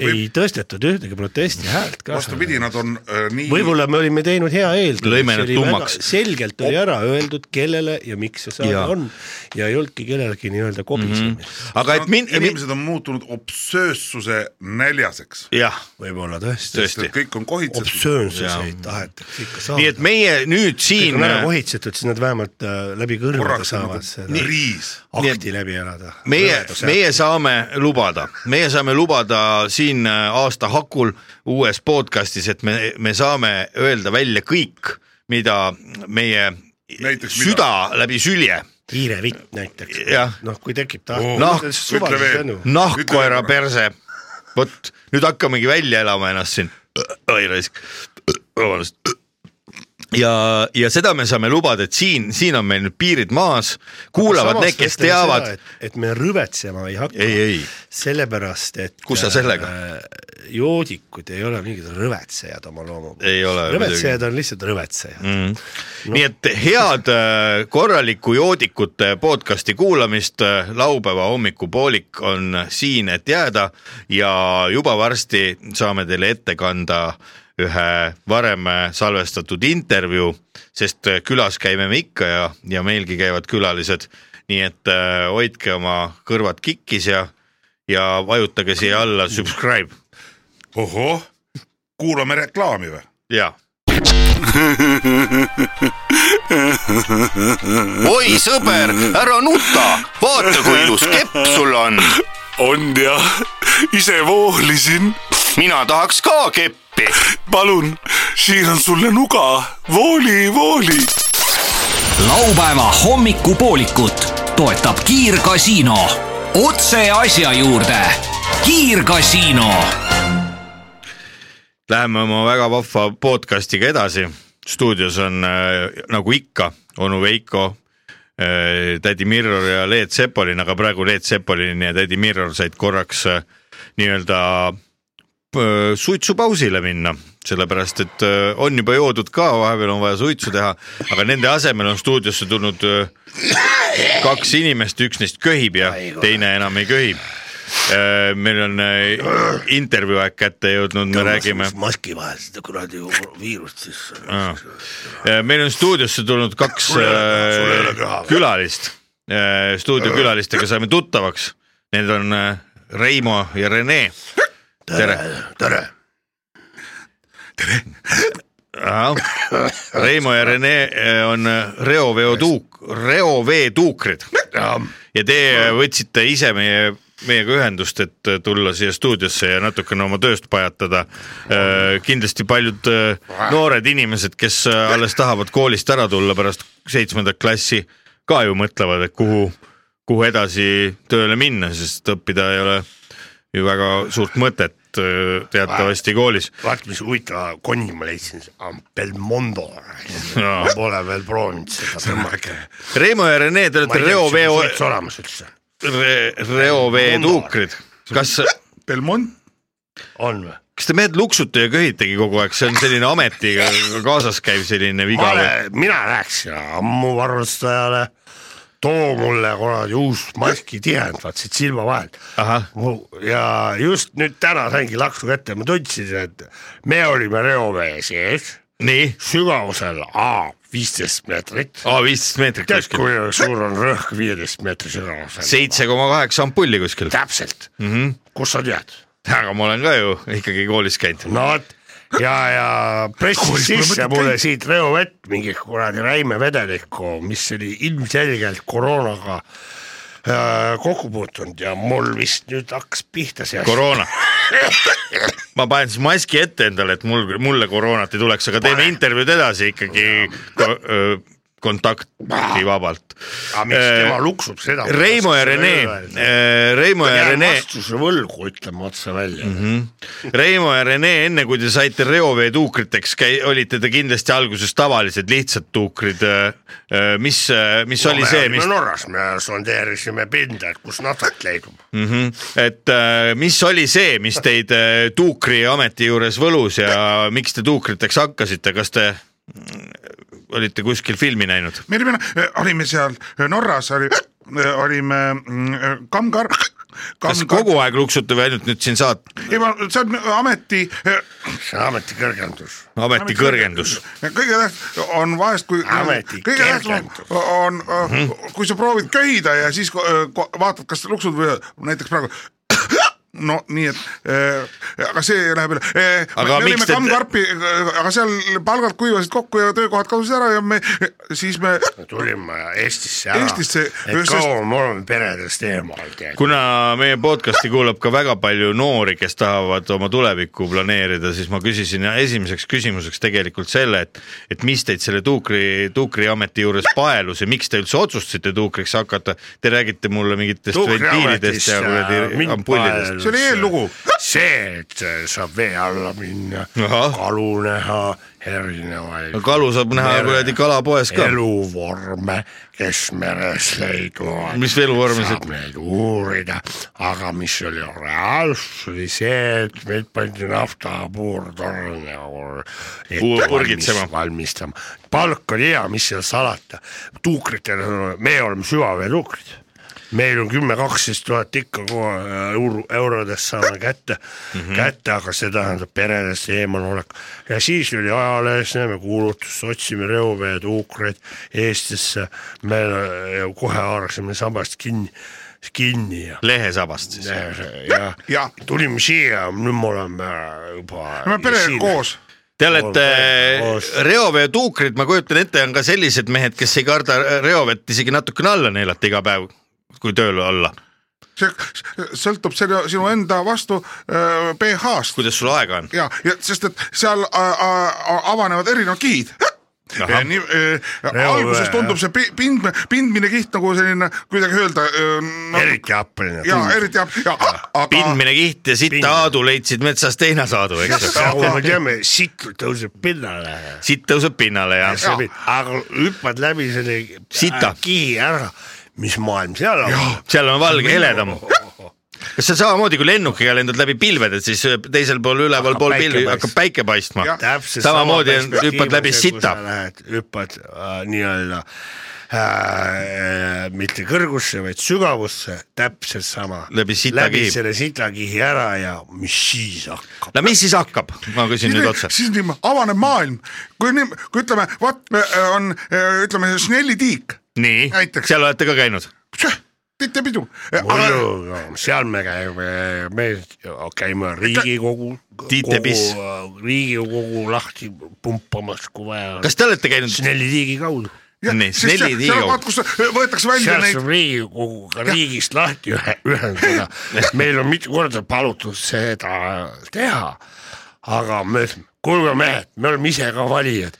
ei tõstetud ühtegi protesti häält ka .
vastupidi , nad on äh, nii .
võib-olla me olime teinud hea eeldus .
Lõime nad tummaks.
selgelt oli ära öeldud , kellele ja miks see saade
Jaa. Mhm.
on ja ei olnudki kellelegi nii-öelda kobisemist mm -hmm. .
aga et
Nad,
min- ,
inimesed on muutunud obsöössuse näljaseks .
jah ,
võib-olla tõesti .
tõesti .
kõik on kohitsetud .
obsöönsuseid tahetakse ikka
nii et
saada .
meie nüüd
kui
siin äh,
on ära kohitsetud , siis nad vähemalt äh, läbi kõrvade
korraks
saavad
nagu
seda
riis .
nii
akti läbi elada .
meie , meie saame lubada , meie saame lubada siin äh, aasta hakul uues podcast'is , et me , me saame öelda välja kõik , mida meie
Näiteks mida?
süda mida? läbi sülje ,
hiire vitt näiteks
Jah. , Oh. Noh,
noh , kui tekib Noh, tahtmine
Oo.
Nahk-
ütle veel.
nahkkoera perse . vot nüüd hakkamegi välja elama ennast siin . oi raisk , vabandust . ja , ja seda me saame lubada , et siin , siin on meil nüüd piirid maas , kuulavad need , kes teavad ,
et me rõvetsema ei hakka .
ei , ei
sellepärast , et .
Kus sa sellega? ?
joodikud ei ole mingid rõvetsejad oma loomu .
Ei ole
rõvetsejad on lihtsalt rõvetsejad mm. .
no. nii et head äh, korralikku joodikute podcast'i kuulamist , laupäeva hommikupoolik on siin , et jääda ja juba varsti saame teile ette kanda ühe varem äh, salvestatud intervjuu , sest äh, külas käime me ikka ja , ja meilgi käivad külalised , nii et äh, hoidke oma kõrvad kikkis ja , ja vajutage siia alla subscribe
ohoh ,
kuulame reklaami või ?
ja
oi sõber , ära nuta , vaata kui ilus kepp sul on .
on jah , ise voolisin .
mina tahaks ka keppi .
palun , siiran sulle nuga , vooli , vooli
laupäeva hommikupoolikut toetab Kiirgasiino . otse asja juurde . kiirgasiino
Läheme oma väga vahva podcast'iga edasi . stuudios on äh, nagu ikka onu Veiko äh, , tädi Mirror ja Leet Sepolin , aga praegu Leet Sepolin ja tädi Mirror said korraks äh, nii-öelda äh, suitsupausile minna , sellepärast et äh, on juba joodud ka , vahepeal on vaja suitsu teha , aga nende asemel on stuudiosse tulnud äh, kaks inimest , üks neist köhib ja teine enam ei köhi . meil on äh, intervjuu aeg kätte jõudnud , me räägime .
maski vahel seda kuradi viirust sisse .
meil on stuudiosse tulnud kaks äh, külalist stuudiokülalistega saime tuttavaks . Need on äh, Reimo ja Rene . tere,
tere .
ahah , Reimo ja Rene eh, on reoveotuuk , reoveetuukrid . ja te võtsite ise meie , meiega ühendust , et eh, tulla siia stuudiosse ja natukene oma tööst pajatada . kindlasti paljud eh, noored inimesed , kes eh, alles tahavad koolist ära tulla pärast seitsmendat klassi , ka ju mõtlevad , et kuhu , kuhu edasi tööle minna , sest õppida ei ole ju väga suurt mõtet eh, teatavasti koolis .
vaat mis huvitava konni ma leidsin , Belmondo .
Jaa.
ma pole veel proovinud seda tõmmata .
Reimo ja Rene , te
ma
olete
ei tea , kas see
reoveo
on üldse olemas üldse .
re, reoveetuukrid , kas ,
Belmont ,
on või ?
kas te mehed luksute ja köhitegi kogu aeg , see on selline ametiga kaasas käiv selline
ma
viga või ?
olen , mina läheksin ammu varustajale , too mulle kuradi uus maskitihend , vaat siit silma vahelt .
ahah ,
ja just nüüd täna saingi laksu kätte , ma tundsin , et me olime reovee sees ,
nii ,
sügavusel A viisteist meetrit .
aa viisteist meetrit
tead ,
Oh, kuskil ,
kui suur on rõhk viieteist meetri sügavusel ?
seitse koma kaheksa ampulli kuskil ,
täpselt mm ,
Mhm.
-hmm. kus sa tead ?
aga ma olen ka ju ikkagi koolis käinud .
no vot ja , ja pressis sisse mulle siit reovett mingi kuradi räime vedelikku , mis oli ilmselgelt koroonaga äh, kokku puutunud ja mul vist nüüd hakkas pihta see asi .
koroona . ma panen siis maski ette endale , et mul , mulle koroonat ei tuleks , aga teeme intervjuud edasi ikkagi ko- öö, kontakti vabalt .
aga Ah, miks
Äh,
tema luksub seda ?
Reimo ja Rene ,. Reimo ja Rene Mhm.
vastuse võlgu , ütleme otse välja mm . -hmm.
Reimo ja Rene , enne kui te saite reoveetuukriteks , olite te kindlasti alguses tavalised lihtsad tuukrid . mis , mis oli see , mis
me , Norras me sondeerisime pinda , et kus naftat leidub .
Mhm. et äh, mis oli see , mis teid äh, tuukriameti juures võlus ja miks te tuukriteks hakkasite , kas te mm, olite kuskil filmi näinud ?
me olime , eh, olime seal Norras , oli , olime mm, Kamgar .
kas kogu aeg luksute või ainult nüüd siin saat- ,
ei , see on ameti , eh,
see on ametikõrgendus .
ameti kõrgendus ?
Eh, kõige tähtsam on vahest , kui
Ameti
kõige tähtsam
kergendus.
on ,
Mhm.
kui sa proovid köhida ja siis ko- ko- vaatad , kas luksud või näiteks praegu no nii , et eh, aga see läheb üle eh, .
Aga
me
miks
olime
te-
Kammkarpi , aga seal palgad kuivasid kokku ja töökohad kadusid ära ja me siis me
tulime Eestisse ära ,
Eestisse,
et
sest-
kaua me oleme peredest eemal tead .
kuna meie podcast'i kuulab ka väga palju noori , kes tahavad oma tulevikku planeerida , siis ma küsisin esimeseks küsimuseks tegelikult selle , et et mis teid selle tuukri , tuukriameti juures paelus ja miks te üldse otsustasite tuukriks hakata . Te räägite mulle mingitest ventiilidest ja
äh,
kuradi ampullidest .
See oli eellugu. .
see , et saab vee alla minna ,
Ahah.
kalu näha , erinevaid
kalu saab näha
Mere-
kuradi kalapoes ka .
eluvorme , kes meres leiduvad .
Mis eluvorme
saab
see-
neid uurida , aga mis oli reaalsus , oli see , et meid pandi naftapuurtorne or- et
Puu-
valmis-
purgitsema.
valmistama . palk oli hea , mis seal salata , tuukritel , me oleme süvaveetuukrid meil on kümme , kaksteist tuhat ikka kohe äh, euro , eurodest saame kätte mm ,
Mhm.
-hmm. kätte , aga see tähendab peredest eemalolek . ja siis oli ajalehes , näeme kuulutust , otsime reoveetuukreid Eestisse , me äh, kohe haarasime sabast kinni , kinni ja
lehesabast siis .
ja, ja
Ja.
tulime siia , nüüd me oleme äh, juba .
me perega . koos .
Te olete
Koos.
reoveetuukrid , ma kujutan ette , on ka sellised mehed , kes ei karda reovett isegi natukene alla neelata iga päev , kui tööl olla .
see s- sõltub selle sinu enda vastu äh, pH-st
kuidas sul aega on ?
ja , ja sest , et seal a, a, a, avanevad erinevad kihid .
Ahah.
Nii, äh, alguses tundub see pi- pind , pindmine kiht nagu selline , kuidagi öelda äh, .
eriti aprilline .
ja eriti ja, ja aga
pindmine kiht ja sitta
Pindmine.
Aadu leidsid metsast heinasaadu , eks ju .
nagu me teame , sitt tõuseb pinnale
sitt tõuseb pinnale ja
sa võid , aga hüppad läbi selle
Sita.
kihi ära , Ah, mis maailm seal on .
seal on valge heledam . kas see on samamoodi kui lennukiga lendad läbi pilved , et siis äh, teisel pool üleval
Hakkab
pool
päike
pilvi
paistma.
hakkab päike paistma
Jah. .
täpselt
samamoodi on , hüppad läbi sita .
eh, hüppad äh, nii-öelda äh, mitte kõrgusse , vaid sügavusse , täpselt sama .
Läbi sita
läbi
kihi.
selle sitakihi ära ja mis siis hakkab ?
no mis siis hakkab , ma küsin nüüd otse .
siis äh, nii avaneb maailm , kui nii , kui ütleme , vot äh, on , ütleme , Schnelli tiik
nii
Näiteks. ,
seal olete ka käinud ?
teete pidu . Äh,
mullu , seal me käime , me käime Riigikogu ,
Tiitepis.
äh, Riigikogu lahti pumpamas , kui vaja .
kas te olete käinud ?
Snelli tiigi kaudu .
nii , neli tiiga .
kus võetakse välja
seal
neid ,
saab Riigikoguga riigist lahti ühe , ühendada . meil on mitu korda palutud seda teha . aga me ütlesime , kuulge mehed , me oleme ise ka valijad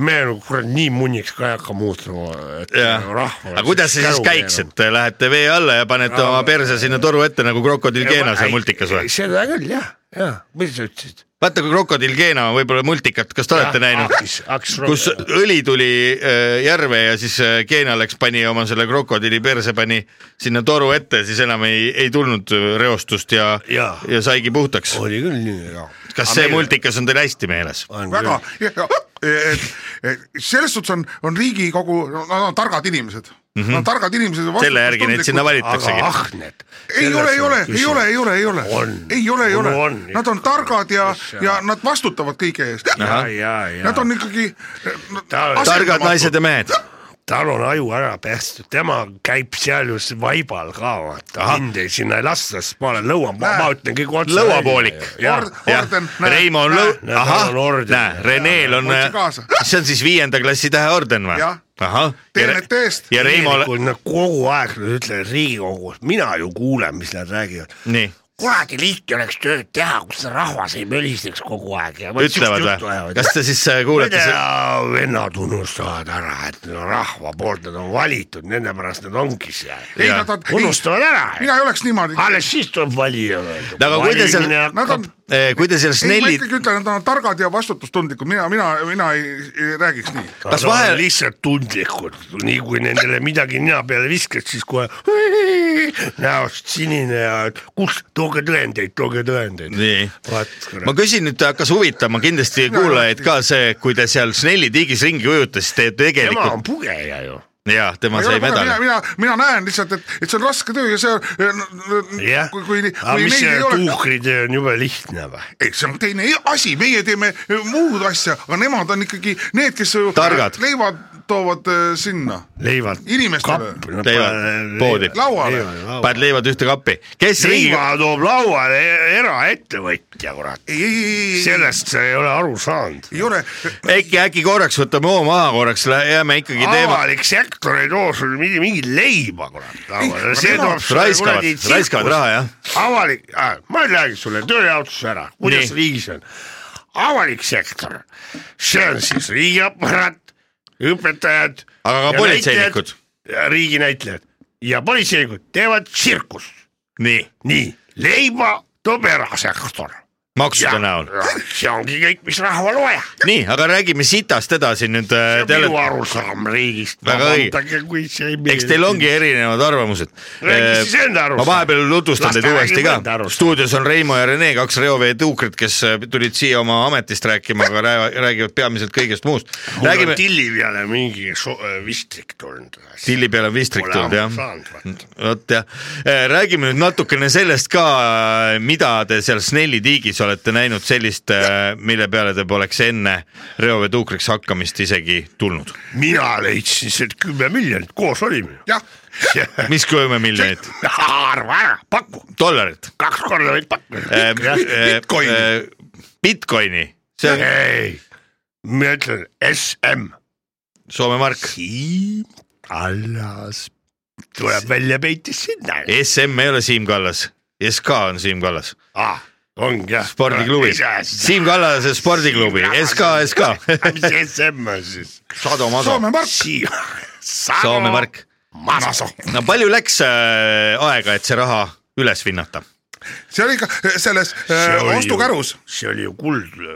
me oleme kurat nii munniks ka ei hakka muutuma , et
jah ,
rahvale .
aga kuidas see siis käiks , et te lähete vee alla ja panete
Jaa.
oma perse sinna toru ette nagu krokodill Keena seal multikas või ?
seda küll jah , jah , mis sa ütlesid ?
vaata , kui krokodill Keena on võib-olla multikat , kas te olete näinud ? kus
kus
õli tuli äh, järve ja siis äh, Keena läks , pani oma selle krokodilli perse , pani sinna toru ette , siis enam ei , ei tulnud äh, reostust ja , ja,
Jaa.
ja saigi puhtaks .
oli küll nii , jah .
kas see multikas on teil hästi meeles ?
väga , selles suhtes on , on Riigikogu , nad on targad inimesed mm , -hmm. nad on targad inimesed .
Mhm. selle järgi neid sinna . valitaksegi
aga . ahned .
ei ole , ei ole , ei ole , ei ole , ei ole
On. ,
ei ole , ei ole
On ,
nad on
ikka.
targad ja
Mis sa- ,
ja nad vastutavad kõige eest .
ja , ja , ja .
Nad on ikkagi . eh,
Ta-
targad naised ja mehed .
tal on aju ära pestud , tema käib seal ju s- vaibal ka , vaata , mind ei sinna ei lasta , sest ma olen lõua , ma, ma ütlen kõik otse .
Lõuapoolik.
jah ,
jah
Orden, , näe,
Reimo on
näe.
lõu- ,
Näe,
ahah
tal on , orden.
näe , Reneel on äh,
Võtsin , kaasa.
see on siis viienda klassi täheorden või
Jah. ?
ahah .
Teenete eest.
ja Reimol ,
tegelikult nad kogu aeg ütlevad Riigikogus , mina ju kuulen , mis nad räägivad .
nii ,
kuradi lihtne oleks tööd teha , kus rahvas ei möliseks kogu aeg ja .
ütlevad või ? kas te siis äh,
kuulete
kuulete ?
seda ? vennad unustavad ära , et nad on rahva poolt nad on valitud , nende pärast nad ongi seal .
ei ,
Jaa.
nad on ,
unustavad
mina
ära ,
ei oleks niimoodi .
alles siis tuleb valija .
aga kui te seal-
Nad on ,
Äh, kui te seal
ei ma
Snelli ,
ikkagi ütlen , et nad on targad ja vastutustundlikud , mina , mina , mina ei, ei räägiks nii .
Kas
Nad on
vahel-
lihtsalt tundlikud , nii kui nendele midagi nina peale viskad , siis kohe näost sinine ja et kus , tooge tõendeid , tooge tõendeid .
nii
vaat
ma
kurat ,
küsin nüüd , hakkas huvitama kindlasti kuulajaid ka see , kui te seal Snelli tiigis ringi ujutasite , te
tema on
tegelikult
pugeja ju .
ja tema sai
mina ,
medali .
mina , mina näen lihtsalt , et , et see on raske töö ja see on ,
jah ,
kui , kui ,
aga
kui neid
mis see
ei ole ,
tuukritöö on jube lihtne või ?
ei see on teine asi , meie teeme äh, muud asja , aga nemad on ikkagi need , kes ju
Targad.
leivad toovad äh, sinna
leivad .
Inimestele.
Leivad poodi.
lauale .
paned leivad ühte kappi , kes riigi ,
leiva toob lauale e-, eraettevõtja , kurat .
ei , ei , ei , ei ,
sellest sa ei ole aru saanud .
ei ole ,
äkki , äkki korraks võtame hoo maha korraks , jääme ikkagi teema .
avalik sektor ei too sulle mitte mingit leiba , kurat . see
nemad
toob sulle
raiskavad
kuradi ,
raiskavad
tsirkust.
raha jah .
avalik , ma räägin sulle tööjaotuse ära , kuidas
Nii.
riigis on . avalik sektor , see on siis riigiaparaat , õpetajad .
Aga ka politseinikud. .
riiginäitlejad ja politseinikud teevad tsirkust ,
nii ,
nii , leiba toob erasektor .
maksude näol .
see ongi kõik , mis rahval vaja .
nii , aga räägime sitast edasi nüüd . äh,
minu arusaam riigist .
Väga õige. eks teil ongi erinevad arvamused .
Räägi siis enda arvamuse.
ma vahepeal tutvustan
Las
teid
ta
uuesti
räägib
ka
enda . arvamuse.
stuudios on Reimo ja Rene , kaks reoveetuukrit , kes äh, tulid siia oma ametist rääkima , aga rää- räägivad peamiselt kõigest muust .
räägime .
räägime ,
tilli peale mingi so- vistrik tulnud .
tilli peale on vistrik tulnud jah .
jah
vot jah , räägime nüüd natukene sellest ka , mida te seal Snelli tiigis olete näinud sellist , mille peale te poleks enne reoveetuukriks hakkamist isegi tulnud .
mina leidsin sealt kümme miljonit , koos olime .
jah ,
mis kümme miljonit
arva ära , paku ,
dollarit ?
kaks korda
Äh,
võid pakkuda .
Bitcoini . Äh, Bitcoini , see on
ei , ma ütlen SM ,
Soome mark .
Siim Kallas tuleb välja peitis sinna
SM E ei ole Siim Kallas , SK on Siim Kallas ,
ah, . ongi jah .
spordiklubi . Siim Kallase spordiklubi , SK , SK .
mis SM on siis ?
Sado Maso ,
Soome mark ,
Siim .
Soome . mark .
Maso .
no palju läks äh, aega , et see raha üles vinnata ?
see oli ikka selles äh, ostukärus .
see oli ju kuld .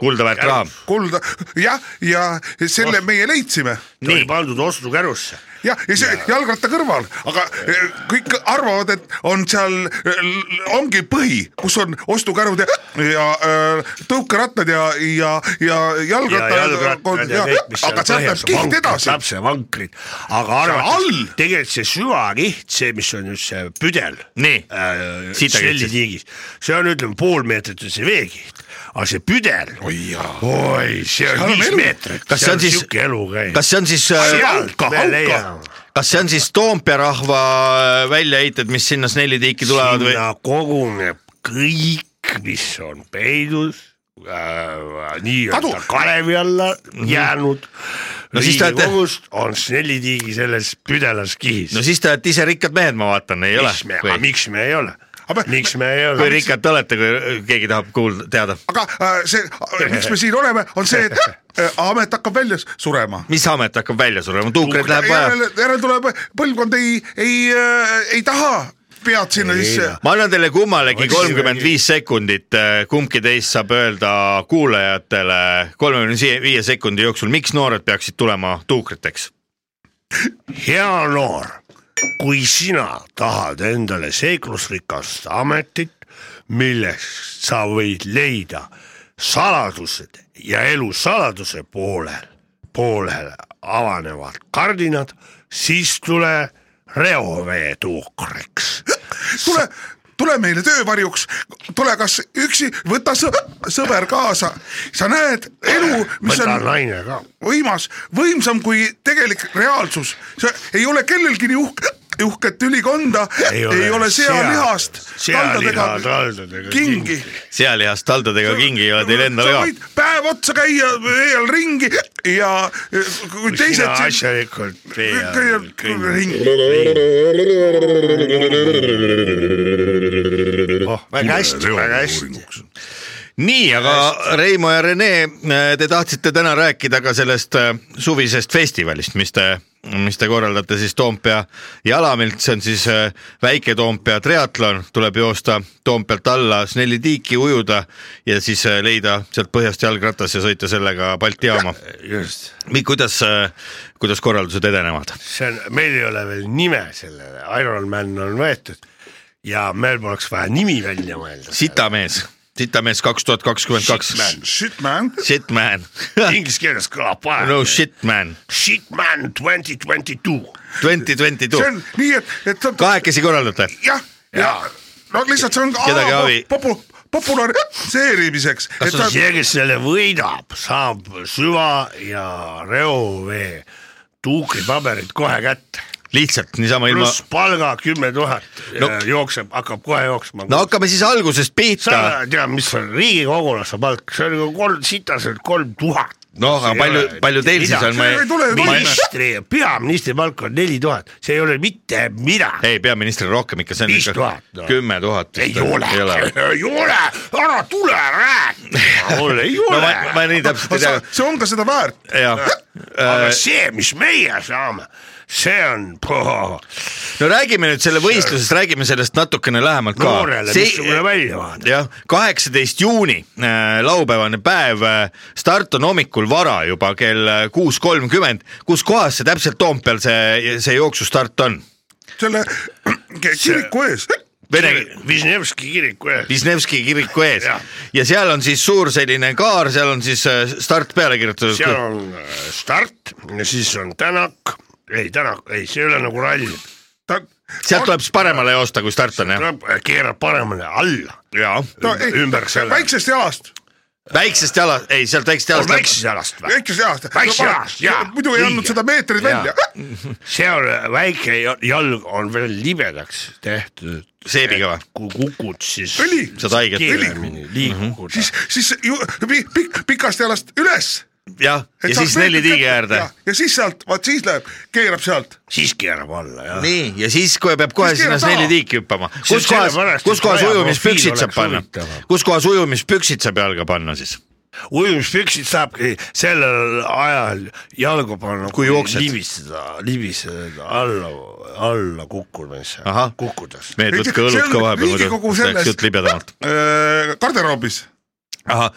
kuldaväärt raha .
kulda , jah , ja selle meie leidsime
ta oli pandud ostukärusse .
jah , ja see jalgratta kõrval , aga eh, kõik arvavad , et on seal , ongi põhi , kus on ostukärud ja , ja eh, tõukerattad ja , ja , ja
ja jalgrattad
jalgrattad
ja kõik , mis seal
aga sealt
põhjas
läheb kiht edasi .
lapsevankrid , aga arvata ,
all!
tegelikult see süvakiht , see , mis on nüüd see püdel .
Nii. Sitagi
pillitiigis , äh, see on , ütleme pool meetrit on see veekiht , aga see püdel , oi , see on viis meetrit ,
Kas see on
seal on
siis-
siuke elu käinud .
kas see on siis ,
sealt me leiame
kas see on siis Toompea rahva väljaheited , mis sinna Snelli tiiki tulevad või ?
sinna koguneb kõik , mis on peidus äh, nii-öelda kalevi alla jäänud no,
Mhm. No siis te olete-
riigikogust on Snelli tiigi selles püdelas kihis
no siis te olete ise rikkad mehed , ma vaatan , ei ole
miks me , aga ? miks me ei ole
Aga- ,
miks me ei
kui
ole ,
rikkad te olete , kui keegi tahab kuulda , teada ,
aga äh, see , miks me siin oleme , on see , et äh, amet hakkab välja s- surema .
mis amet hakkab välja surema , tuukreid läheb vaja .
järel , järel tuleb , põlvkond ei , ei , ei taha pead sinna sisse .
ma annan teile kummalegi kolmkümmend viis sekundit , kumbki teist saab öelda kuulajatele kolmekümne viie sekundi jooksul , miks noored peaksid tulema tuukriteks ?
hea noor , kui sina tahad endale seiklusrikast ametit , milleks sa võid leida saladused ja elu saladuse poolel , poolel avanevad kardinad , siis tule reoveetuukriks .
tule , tule meile töövarjuks , tule kas üksi , võta sõ, sõber kaasa , sa näed elu , mis
võta
on
naine ka .
võimas , võimsam kui tegelik reaalsus , see ei ole kellelgi nii uhke , uhket ülikonda , ei ole, ole sealihast ,
sealiha taldadega
kingi .
sealihast taldadega kingi ei ole teil endal ka .
päev otsa käia vee all ringi ja eh, kui teised
teised sina
siin
asjalikult vee all
käivad ringi .
oh, . väga hästi , väga hästi .
nii , aga Reimo ja Rene , te tahtsite täna rääkida ka sellest äh, suvisest festivalist , mis te , mis te korraldate siis Toompea jalamilt , see on siis äh, väike Toompea triatlon , tuleb joosta Toompealt alla Sneli tiiki , ujuda ja siis äh, leida sealt põhjast jalgratas ja sõita sellega Balti jaama .
just ,
kuidas , kuidas korraldused edenevad ?
see on , meil ei ole veel nime sellele , Ironman on võetud ja meil poleks vaja nimi välja mõelda .
sitamees , sitamees kaks tuhat kakskümmend kaks .
Shit man ,
Shit man ,
Inglise keeles kõlab
no
paremini .
shit man ,
Shitman twenty twenty two .
twenty twenty two
see , on nii , et , et sa-
kahekesi korraldate
jah , ja no lihtsalt see on ka
Kedagi abi.
popu- , populariseerimiseks , et sa
see , kes selle võidab , saab süva ja reovee tuukripaberid kohe kätte .
lihtsalt niisama ilma .
pluss palga kümme tuhat äh,
No-
jookseb , hakkab kohe jooksma .
no hakkame siis algusest pihta .
sa tead , mis on riigikogulase palk , see on nagu kolm , sitaselt kolm tuhat .
noh , aga palju , palju teil siis on , ma
ei tule ju
ei ,
ministri , peaministri palk on neli tuhat , see ei ole mitte midagi .
ei peaministril rohkem ikka , see on
Viis
ikka
tuhat, no.
kümme tuhat .
ei ole , ei ole , ära tule rääkima , mul ei
no ma
ole ,
ma nii täpselt ei tea
sa- , see on ka seda väärt .
jah . äh,
aga see , mis meie saame , see on poh,
no räägime nüüd selle võistlusest , räägime sellest natukene lähemalt ka .
noorele missugune väljavaade .
jah , kaheksateist juuni , laupäevane päev , start on hommikul vara juba kell äh, kuus kolmkümmend , kus kohas see täpselt Toompeal see , see jooksustart on ?
selle kiriku ees ,
Vene ,
Višnevski kiriku ees ,
Visnevski kiriku ees ja.
Jah.
ja seal on siis suur selline kaar , seal on siis äh, start peale kirjutatud
seal . on äh, start , siis on tänak , ei tänak , ei see ei ole nagu ralli ,
ta ,
sealt tuleb siis paremale joosta , kui start on jah ?
keerab paremale alla ,
jaa .
ta ei
ümber selle .
väiksest jalast ,
väiksest jalast , ei sealt väiksest
on
jalast .
väikses jalast või ?
väikesest jalast
Väikse jalast, jaa.
muidu ei
Õige.
andnud seda meetrit välja ,
seal väike ja- jalg on veel libedaks tehtud ,
seebiga või ?
kui kukud , siis
õli ,
saad haiget . Mhm.
kiiremini liigukud .
siis , Äh, siis ju pi- pikk , pikast jalast üles .
jah , ja siis neli tiigi äärde .
ja siis sealt , vaat siis läheb , keerab sealt ,
siis keerab alla jah .
nii , ja siis kohe peab kohe
Siis
sinna
keerab
neli
taha.
tiiki hüppama .
See on
kus kohas
sellepärast, ,
kus
et
kohas
ajaprofiil
ujumispüksid saab
oleks
panna
huvitavam. ?
kus kohas ujumispüksid saab jalga panna siis ?
ujumispüksid saabki sellel ajal jalgu panna ,
Kui jooksed.
libiseda , libiseda alla , alla kukkumisse
Ahah. ,
kukkudes .
mehed ,
Ei,
võtke
see
õlut
on
ka vahepeal ,
Riigikogu
muidu
selles-
läks jutt libedamalt .
äh, garderoobis ,
ahah ,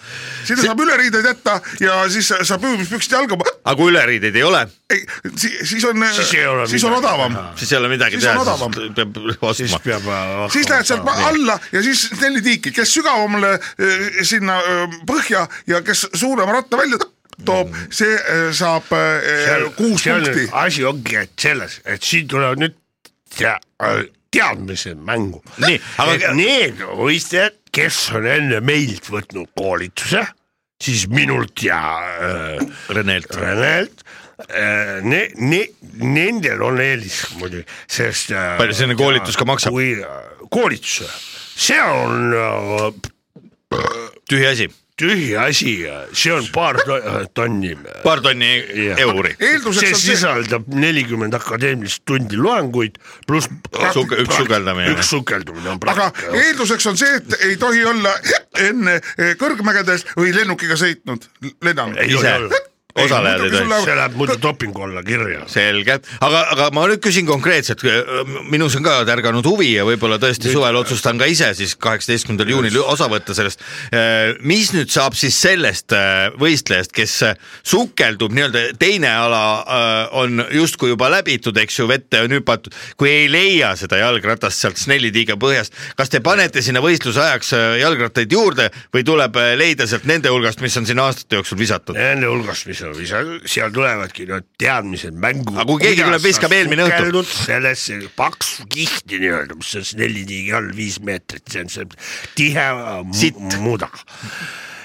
sinna saab üleriideid jätta ja siis saab ujumispüksid jalga ,
aga kui üleriideid ei ole ,
ei , siis on ,
Siis ei ole
siis on
midagi
odavam
teha.
siis ei ole midagi
Siis on
teha ,
odavam.
siis peab
siis
ostma .
peab .
siis lähed sealt ma- alla ja siis neli tiiki , kes sügavamale äh, sinna äh, põhja ja kes suurema ratta välja toob ,
Mm.
see äh, saab äh, kuus punkti .
asi ongi , et selles , et siin tulevad nüüd ja, äh, teadmise mängu .
Nii, aga-
et need võistlejad , kes on enne meilt võtnud koolituse , siis minult ja äh,
Renelt .
Renelt äh, , ne- , ne- , nendel on eelis muidugi , sest äh,
Palju selline koolitus ka maksab?
kui koolitus , see on äh,
tühi asi ,
tühi asi , see on paar to- äh, tonni .
paar tonni
Jah.
euri .
eelduseks
see
on see ,
sisaldab nelikümmend akadeemilist tundi loenguid pluss
Suke- üks sukeldamine.
üks sukeldumine on
aga
praktika .
eelduseks on see , et ei tohi olla enne eh, kõrgmägedes või lennukiga sõitnud , lennanud .
Ei
ise
ole.
osalejad ei tohi .
see läheb muidu dopingu alla kirja .
selge , aga , aga ma nüüd küsin konkreetselt , minus on ka tärganud huvi ja võib-olla tõesti suvel otsustan ka ise siis kaheksateistkümnendal juunil osa võtta sellest . mis nüüd saab siis sellest eh, võistlejast , kes äh, sukeldub nii-öelda teine ala eh, on justkui juba läbitud , eks ju , vette on hüpatud , kui ei leia seda jalgratast sealt snellitiiga põhjast , kas te panete sinna võistluse ajaks eh, jalgrattaid juurde või tuleb eh, leida sealt nende hulgast , mis on siin aastate jooksul visatud ?
Nende hulgas , mis on visatud , seal tulevadki need teadmised mängu .
Aga kui keegi tuleb, viskab eelmine õhtu.
sellesse paksu kihti nii-öelda , mis on siis neli tiigi all viis meetrit , see on see tihe mu-
Sitt.
muuda .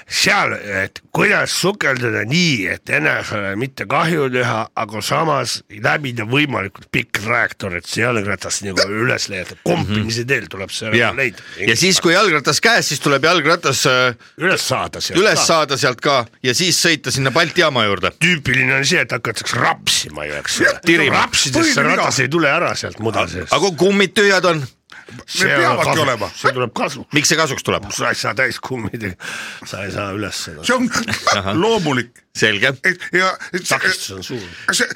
seal , et kuidas sukelduda nii , et enesele mitte kahju teha , aga samas läbida võimalikult pikk trajektoor , et see jalgratas nagu üles leida , kompimise teel tuleb see
ja
ära leida .,
ja siis , kui jalgratas käes , siis tuleb jalgratas eh,
üles saada sealt
üles saada sealt ka ja siis sõita sinna Balti jaama juurde .
tüüpiline on see , et hakatakse rapsima ju , eks ole .
tirima.
rapsidesse
Põhiline
ratas ei tule ära sealt muda seest .
aga kui kummid tühjad on ,
see
peavadki olema.
see tuleb kasu ,
miks see kasuks tuleb ?
sa ei saa täis kummidega , sa ei saa üles seda .
see on loomulik
selge ,
et ja et
takistus on suur .
see ,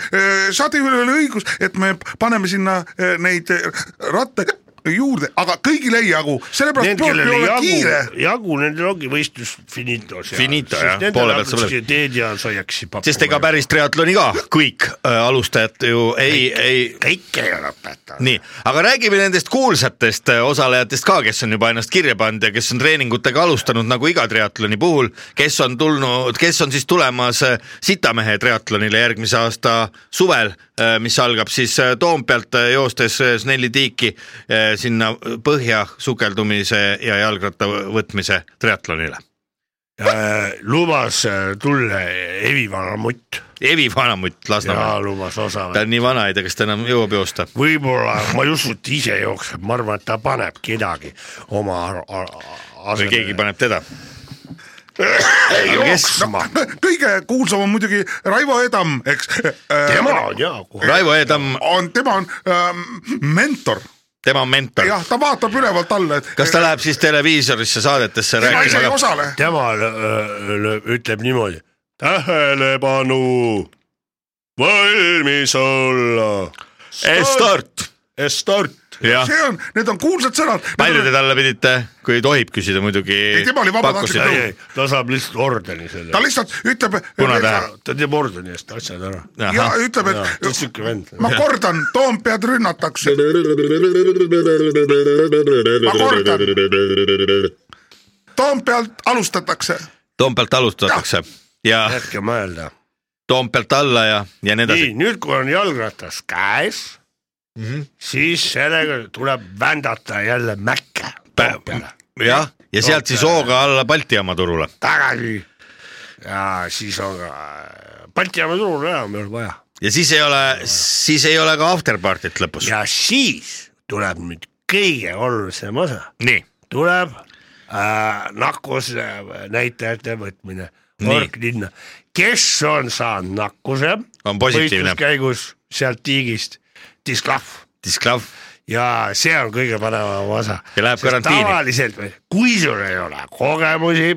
saatejuhil oli õigus , et me paneme sinna eh, neid eh, ratta juurde , aga kõigil ei jagu , sellepärast
Need ,
tuleb
kellel
ju
ei
olla
jagu
kiire .,
jagu , nendel ongi võistlus finito seal .
Finito, jah. Poole pealt saab
lõpp . teed ja saiaksi pakkuma .
sest ega päris triatloni ka kõik äh, alustajad ju ei , ei ,
kõike ei lõpeta .
nii , aga räägime nendest kuulsatest äh, osalejatest ka , kes on juba ennast kirja pannud ja kes on treeningutega alustanud nagu iga triatloni puhul , kes on tulnud , kes on siis tulemas äh, Sitamehe triatlonile järgmise aasta suvel , mis algab siis äh, Toompealt äh, joostes äh, Sneli tiiki äh, sinna põhja sukeldumise ja jalgratta võtmise triatlonile .
lubas äh, tulla Evi Vanamutt
Evi Vanamutt
ja
Lasnamäel ,
lubas
ta
osaleda
on nii vana , ei tea , kas ta enam jõuab joosta .
võib-olla , ma ei usu , et ise jookseb , ma arvan , et ta paneb kedagi oma ar- ar-
või keegi paneb teda .
asemele jooksma .
kõige kuulsam on muidugi Raivo Edam , eks .
tema on jaa kohe .
Raivo Eedam ,
on , tema on ähm, mentor ,
tema on mentor .
jah , ta vaatab ülevalt alla , et
kas ta läheb siis televiisorisse saadetesse
tema ise ei
rääkima ka ?
osale .
tema lö- lö- ütleb niimoodi , tähelepanu , valmis olla ,
start .
start .
jah ,
see on , need on kuulsad sõnad .
palju te talle pidite , kui tohib küsida muidugi .
Ei, tema oli vabatahtlik
ei , ei , ta saab lihtsalt ordeni selle
ta , lihtsalt ütleb .
Punatähe.
ta teeb ordeni eest asjad ära .
ja ütleb ,
ta
et
on siuke vend .
ma kordan , Toompead rünnatakse . ma kordan , Toompealt alustatakse .
Toompealt alustatakse ja
jätke mõelda .
Toompealt alla ja , ja nii edasi Mhm.
nii , nüüd , kui on jalgratas käes mm , -hmm. siis sellega tuleb vändata jälle mäkke peale ,
jah , ja sealt siis hooga alla Balti jaama turule .
tagasi ja siis on ka Balti jaama turul enam ei ole vaja
ja siis ei ole , siis ei ole ka afterparty't lõpus .
ja siis tuleb nüüd kõige olulisem osa ,
nii ,
tuleb äh, nakkusnäitajate võtmine
Nii.
orglinna , kes on saanud nakkuse
On positiivne.
võistluskäigus sealt tiigist , disklahv
disklav
ja see on kõige põnevam osa .
Ja läheb karantiini.
tavaliselt , kui sul ei ole kogemusi ,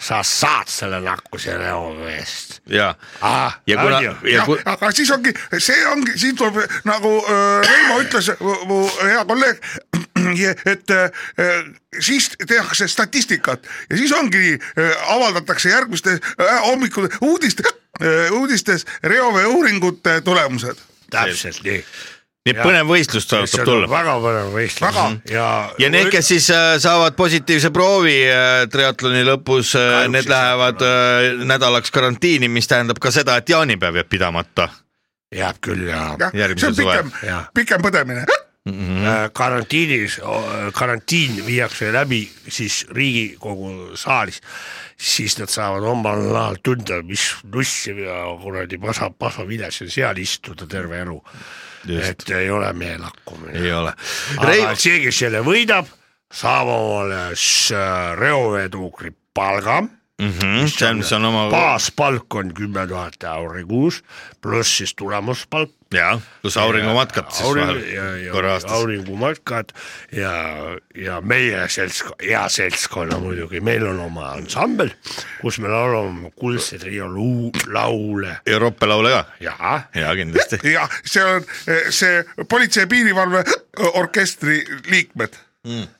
sa saad selle nakkuse reo eest .
ja ,
Ah,
ja kuna
on ju. ,
ja ku- ,
aga siis ongi , see ongi , siin tuleb nagu äh, Reimo ütles , mu hea kolleeg , et äh, siis tehakse statistikat ja siis ongi , avaldatakse järgmiste äh, hommikul uudiste äh, , uudistes reovee uuringute tulemused .
täpselt nii .
nii et põnev võistlus tõotab tulla .
väga põnev võistlus
Väga.
ja .
ja need , kes siis äh, saavad positiivse proovi äh, triatloni lõpus , need lähevad äh, nädalaks karantiini , mis tähendab ka seda , et jaanipäev jääb pidamata .
jääb küll ja,
jah , see
Järgmisel
on pikem
suvel. Jah. ,
pikem põdemine .
Mm-hmm.
Äh, karantiinis , karantiin viiakse läbi siis Riigikogu saalis , siis nad saavad omal ajal tunda , mis nussi ja kuradi pasa , pasaviljas ja seal istuda terve elu . et ei ole meelakkumine .
ei ole .
aga see , kes selle võidab , saab omale s- äh, reoveetuukri palga ,
see on , see on oma ,
baaspalk on kümme tuhat euri kuus , pluss siis tulemuspalk .
jah , kus auringumatkad siis vahel korra aastas .
auringumatkad ja , ja meie seltskonna , hea seltskonna muidugi , meil on oma ansambel , kus me laulame kuldseid riiuluu- , laule
Euroopa laule ka ,
ja
jaa kindlasti .
ja see on eh, see Politsei- ja Piirivalve orkestri liikmed .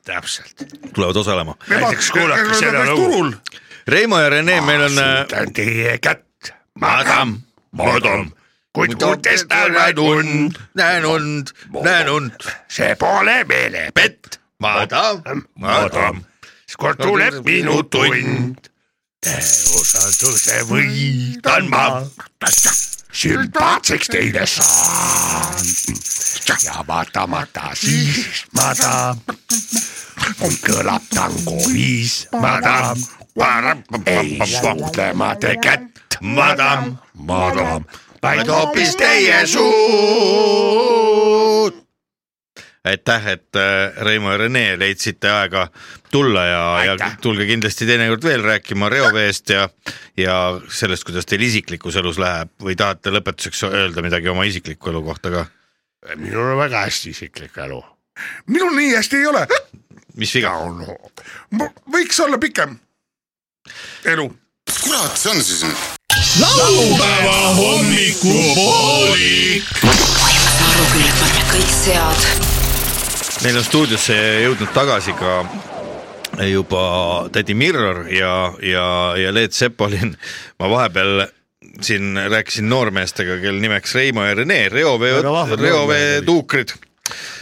täpselt .
tulevad osalema .
näiteks kuulake seda lugu .
turul ,
Reimo ja Rene , meil on äh,
südan teie kätt ,
madam ,
madam , kuid uutes
näen
talved
und , näen und , näen und ,
see pole meelepett ,
madam , madam
madam ., kord tuleb minu tund . usalduse võidan ma , sümpaatseks teile saan . ja vaatamata siis ma tahan , kõlab tango viis , ma tahan , ei suuda ma te kätt , ma tahan , ma tahan , vaid hoopis teie suud .
aitäh , et äh, Reimo ja Rene leidsite aega tulla ja , ja
Aitäh.
tulge kindlasti teinekord veel rääkima reoveest ja , ja sellest , kuidas teil isiklikus elus läheb või tahate lõpetuseks öelda midagi oma isikliku elu kohta ka ,
minul on väga hästi isiklik elu .
minul nii hästi ei ole ,
mis viga ?
võiks olla pikem elu .
kurat , see on siis nüüd .
kõik sead .
meil on stuudiosse jõudnud tagasi ka juba tädi Mirror ja , ja , ja Leet Sepolin . ma vahepeal siin rääkisin noormeestega , kelle nimeks Reimo ja Rene , reovee
Väga vahvad ,
reoveetuukrid .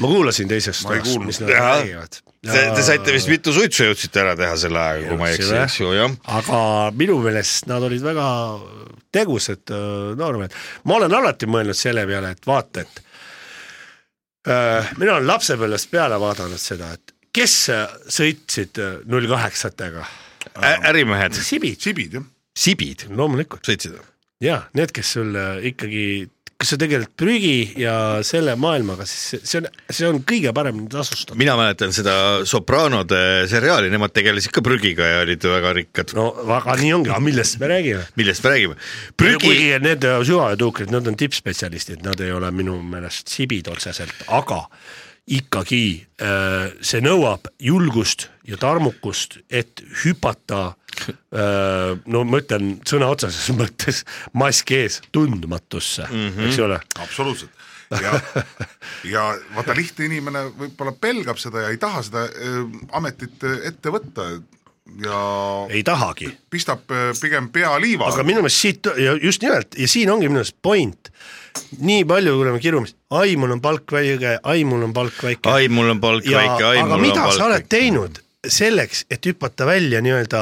ma kuulasin teisest toast , mis nad
Jaa.
räägivad .
Te, te saite vist mitu suitsu jõudsite ära teha selle ajaga , kui ma ei eksi ,
Jõudsime.
eks ju , jah .
aga minu meelest nad olid väga tegusad öö, noormehed . ma olen alati mõelnud selle peale , et vaata , et öö, mina olen lapsepõlvest peale vaadanud seda , et kes sõitsid äh, null kaheksatega .
ärimehed ,
sibid ,
sibid jah ,
sibid
loomulikult
sõitsid .
ja need , kes sul öö, ikkagi , kes sa tegeled prügi ja selle maailmaga , siis see on , see on kõige paremini tasustatud .
mina mäletan seda Sopranode seriaali , nemad tegelesid ka prügiga ja olid väga rikkad .
no aga nii ongi , aga millest me räägime ?
millest me räägime ? prügi
kuigi need süvaveetuukrid , nad on tippspetsialistid , nad ei ole minu meelest sibid otseselt , aga ikkagi äh, see nõuab julgust ja tarmukust , et hüpata . no ma ütlen sõna otseses mõttes mask ees tundmatusse mm , -hmm. eks ole .
absoluutselt . ja , ja vaata lihtne inimene võib-olla pelgab seda ja ei taha seda
äh,
öö, ametit öö, ette võtta ja
ei tahagi ,
pistab öö,
äh,
pigem pea liiva .
aga minu meelest siit ja just nimelt ja siin ongi minu meelest point . nii palju kuuleme kirjumist , ai , mul on palk väike , ai , mul on palk väike .
ai , mul on palk
ja
väike , ai ,
aga
mul on
mida sa
palk
oled
väike .
teinud selleks , et hüpata välja nii-öelda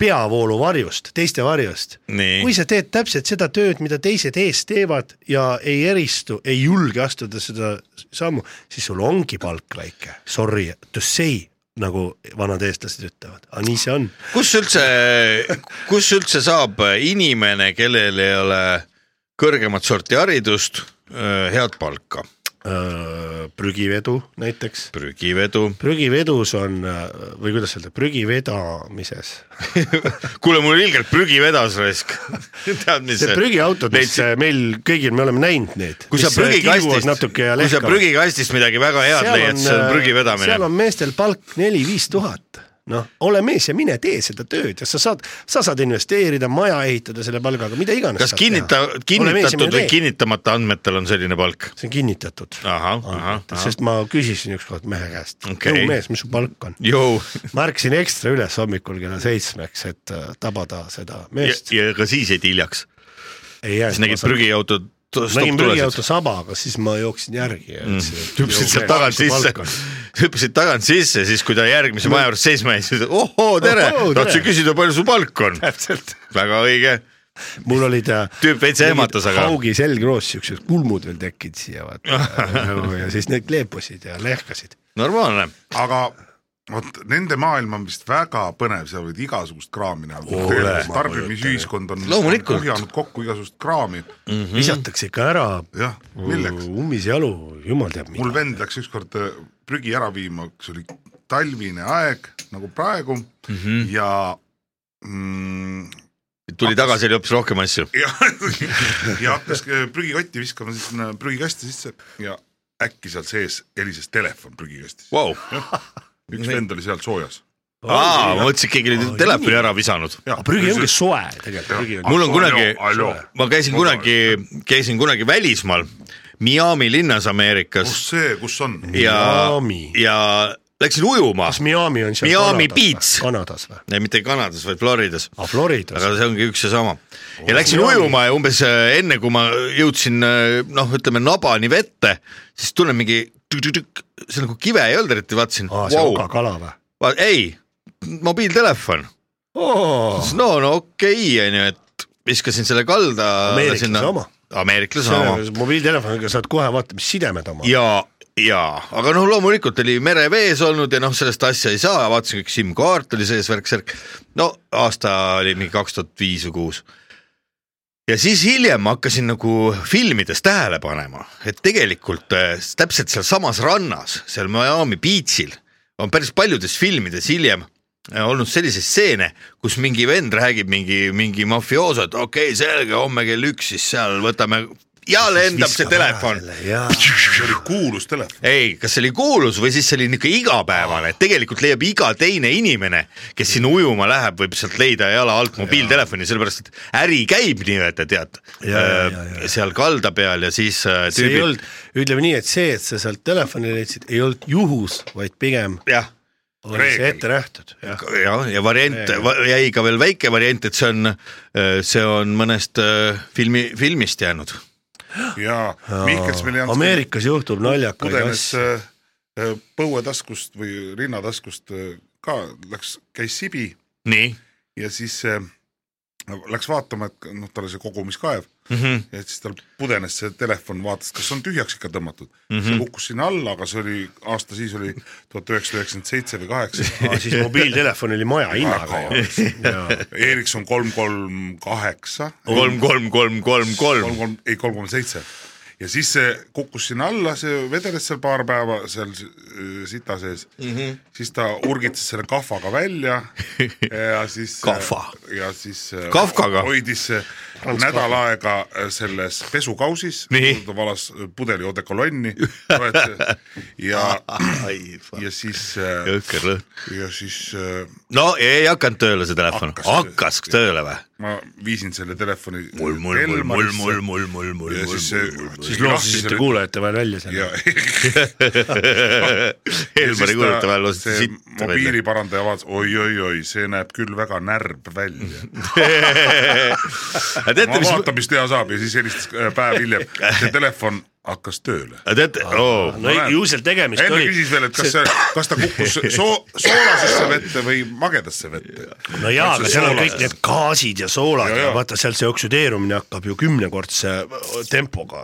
peavoolu varjust , teiste varjust .
Nii.
kui sa teed täpselt seda tööd , mida teised ees teevad ja ei eristu , ei julge astuda seda sammu , siis sul ongi palk väike . Sorry to say , nagu vanad eestlased ütlevad , aga nii see on .
kus üldse , kus üldse saab inimene , kellel ei ole kõrgemat sorti haridust , head palka ,
prügivedu näiteks ,
prügivedu .
prügivedus on öö, või kuidas öelda , prügivedamises
kuule , mul ilgelt prügi vedas raisk . tead , mis
see prügiautod , mis
Leidsid-
meil kõigil , me oleme näinud äh, neid .
kui sa prügikastist , kui sa prügikastist midagi väga head leiad , see on prügi
äh, seal
vedamine .
on meestel palk neli-viis tuhat noh , ole mees ja mine tee seda tööd ja sa saad , sa saad investeerida , maja ehitada selle palgaga , mida iganes .
kas kinnita- , kinnitatud või ? kinnitamata andmetel on selline palk ?
see on kinnitatud .
ahah , ahah , ahah .
sest ma küsisin ükskord mehe käest
Okei.
okay. , mees , mis su palk on ?
Jou ,
ma ärkasin ekstra üles hommikul kella seitsmeks , et äh, tabada seda
ja
meest .
ja ka siis jäid hiljaks ,
ei jäänud .
siis nägid prügiautot .
nägin prügiauto saba , aga siis ma jooksin järgi ja ütlesin mm. .
hüppasid sealt tagant sisse , hüppasid tagant sisse , siis kui ta järgmise maja juures seisma jäi , siis ohoo , tere ,
Ohoo, tere!
tahtsin küsida , palju su palk on .
täpselt .
väga õige ,
mul olid .
Tüüp veits ehmatas, aga-
haugi selgroos siuksed kulmud veel tekkinud siia vaata ja siis need kleepusid ja lehkasid .
normaalne .
aga vot nende maailm on vist väga põnev , seal võid igasugust kraami näha
Ole, . ma
tarbimisühiskond on
Loomulikult.
kuhjanud kokku igasugust kraami .
Mhm.
visatakse ikka ära
jah , milleks ?
ummisjalu , jumal teab
mul
mida .
vend läks ükskord äh, prügi ära viima , see oli talvine aeg nagu praegu mm -hmm. ja mm,
tuli tagasi , oli hoopis rohkem asju .
ja ja hakkas äh, prügikotti viskama sinna prügikasti sisse ja äkki seal sees helises telefon prügikastis .
Vau ,
üks vend oli seal soojas .
aa , ma mõtlesin , et keegi oli telefoni ära visanud .
prügi ongi soe tegelikult , prügi on .
mul on kunagi
Allo, allo. ,
ma käisin kunagi , käisin kunagi välismaal , Miami linnas Ameerikas
kus see , kus on ?
ja
Miami. ,
ja läksin ujuma
kas , Miami on seal
Miami
Kanadas
Beach.
või? Kanadas või ?
mitte Kanadas , vaid Floridas
aa , Floridas
aga . see ongi üks ja sama . ja läksin ujuma ja umbes äh, enne , kui ma jõudsin äh, noh , ütleme nabani vette , siis tunnen mingi tükk-tükk-tükk , see nagu kive ei olnud eriti , vaatasin
aa , Ah, see on
wow.
ka , kala või ?
ei , mobiiltelefon , no no okei okay, , onju , et viskasin selle kalda .
Ameeriklase oma. .
ameeriklase oma
mobiiltelefoniga saad kohe vaadata , mis sidemed oma .
ja , ja , aga noh , loomulikult oli merevees olnud ja noh , sellest asja ei saa , vaatasin kõik SIM-kaart oli sees , värk-särk . no aasta oli mingi kaks tuhat viis või kuus . ja siis hiljem ma hakkasin nagu filmides tähele panema , et tegelikult äh, s- täpselt sealsamas rannas , seal Miami Beach'il on päris paljudes filmides hiljem äh, olnud selliseid stseene , kus mingi vend räägib mingi , mingi mafioos , et okei okay, , selge , homme kell üks siis seal võtame ja lendab see telefon
see oli kuulus telefon .
ei , kas see oli kuulus või siis see oli niisugune igapäevane , et tegelikult leiab iga teine inimene , kes sinna ujuma läheb , võib sealt leida jala alt mobiiltelefoni , sellepärast et äri käib nii-öelda tead
Ja, ja, ja, ja.
seal kalda peal ja siis äh,
see ei
tüübid ,
olnud , ütleme nii , et see , et sa sealt telefoni leidsid , ei olnud juhus , vaid pigem
jah ,
oli see ette nähtud .
ja , ja variant
Ja, ja.
va- jäi ka veel väike variant , et see on , see on mõnest äh, filmi , filmist jäänud .
ja Mihkels meil ei olnud .
Ameerikas juhtub naljakaid
pudenes
asju .
äh, äh, põuetaskust või rinnataskust äh, ka läks , käis sibi
nii ,
ja siis äh, läks vaatama , et noh , tal oli see kogumiskaev
Mhm.
ja siis tal pudenes see telefon , vaatas , kas on tühjaks ikka tõmmatud mm .
Mhm.
-hmm. see kukkus sinna alla , aga see oli aasta siis oli tuhat üheksasada üheksakümmend seitse või kaheksa .
siis mobiiltelefon oli maja hinnaga
Väga
ju .
Ericsson kolm , kolm , kaheksa .
kolm , kolm , kolm , kolm , kolm
kolm , kolm , ei kolm koma seitse . ja siis see kukkus sinna alla , see vedeles seal paar päeva seal s- äh, sita sees mm , -hmm.
Mhm.
siis ta urgitses selle kahvaga välja ja siis .
Kahva. .
ja siis .
Kafkaga?
hoidis see nädal aega äh, selles pesukausis
Nii. ,
ta valas äh, pudeli odekolonni ja , ja siis ,
jõhker lõhn .
ja siis äh,
no ei hakanud tööle see telefon ,
Hakkas tööle.
hakkas tööle või ?
ma viisin selle telefoni .
mul , mul , mul , mul , mul , mul , mul , mul ,
ja
mul ,
siis see
mul , mul ,
siis
loosisite kuulajate vahel välja
ja
selle .
Helmari kuulajate vahel lasti
see
sitta välja .
mobiiliparandaja vaatas oi-oi-oi , see näeb küll väga närb välja .
aga Ah, teate ,
ma
mis ,
vaatan , mis teha saab ja siis helistas äh, päev hiljem , see telefon hakkas tööle .
aga Ah, teate , oo ,
no ei- ju seal tegemist
enne
oli .
küsis veel , et kas see , kas ta kukkus soo- , soolasesse vette või magedasse vette .
no jaa , aga seal on
soolas.
kõik need gaasid ja soolad
Ja,
ja,
ja.
ja vaata seal see oksüdeerumine hakkab ju kümnekordse tempoga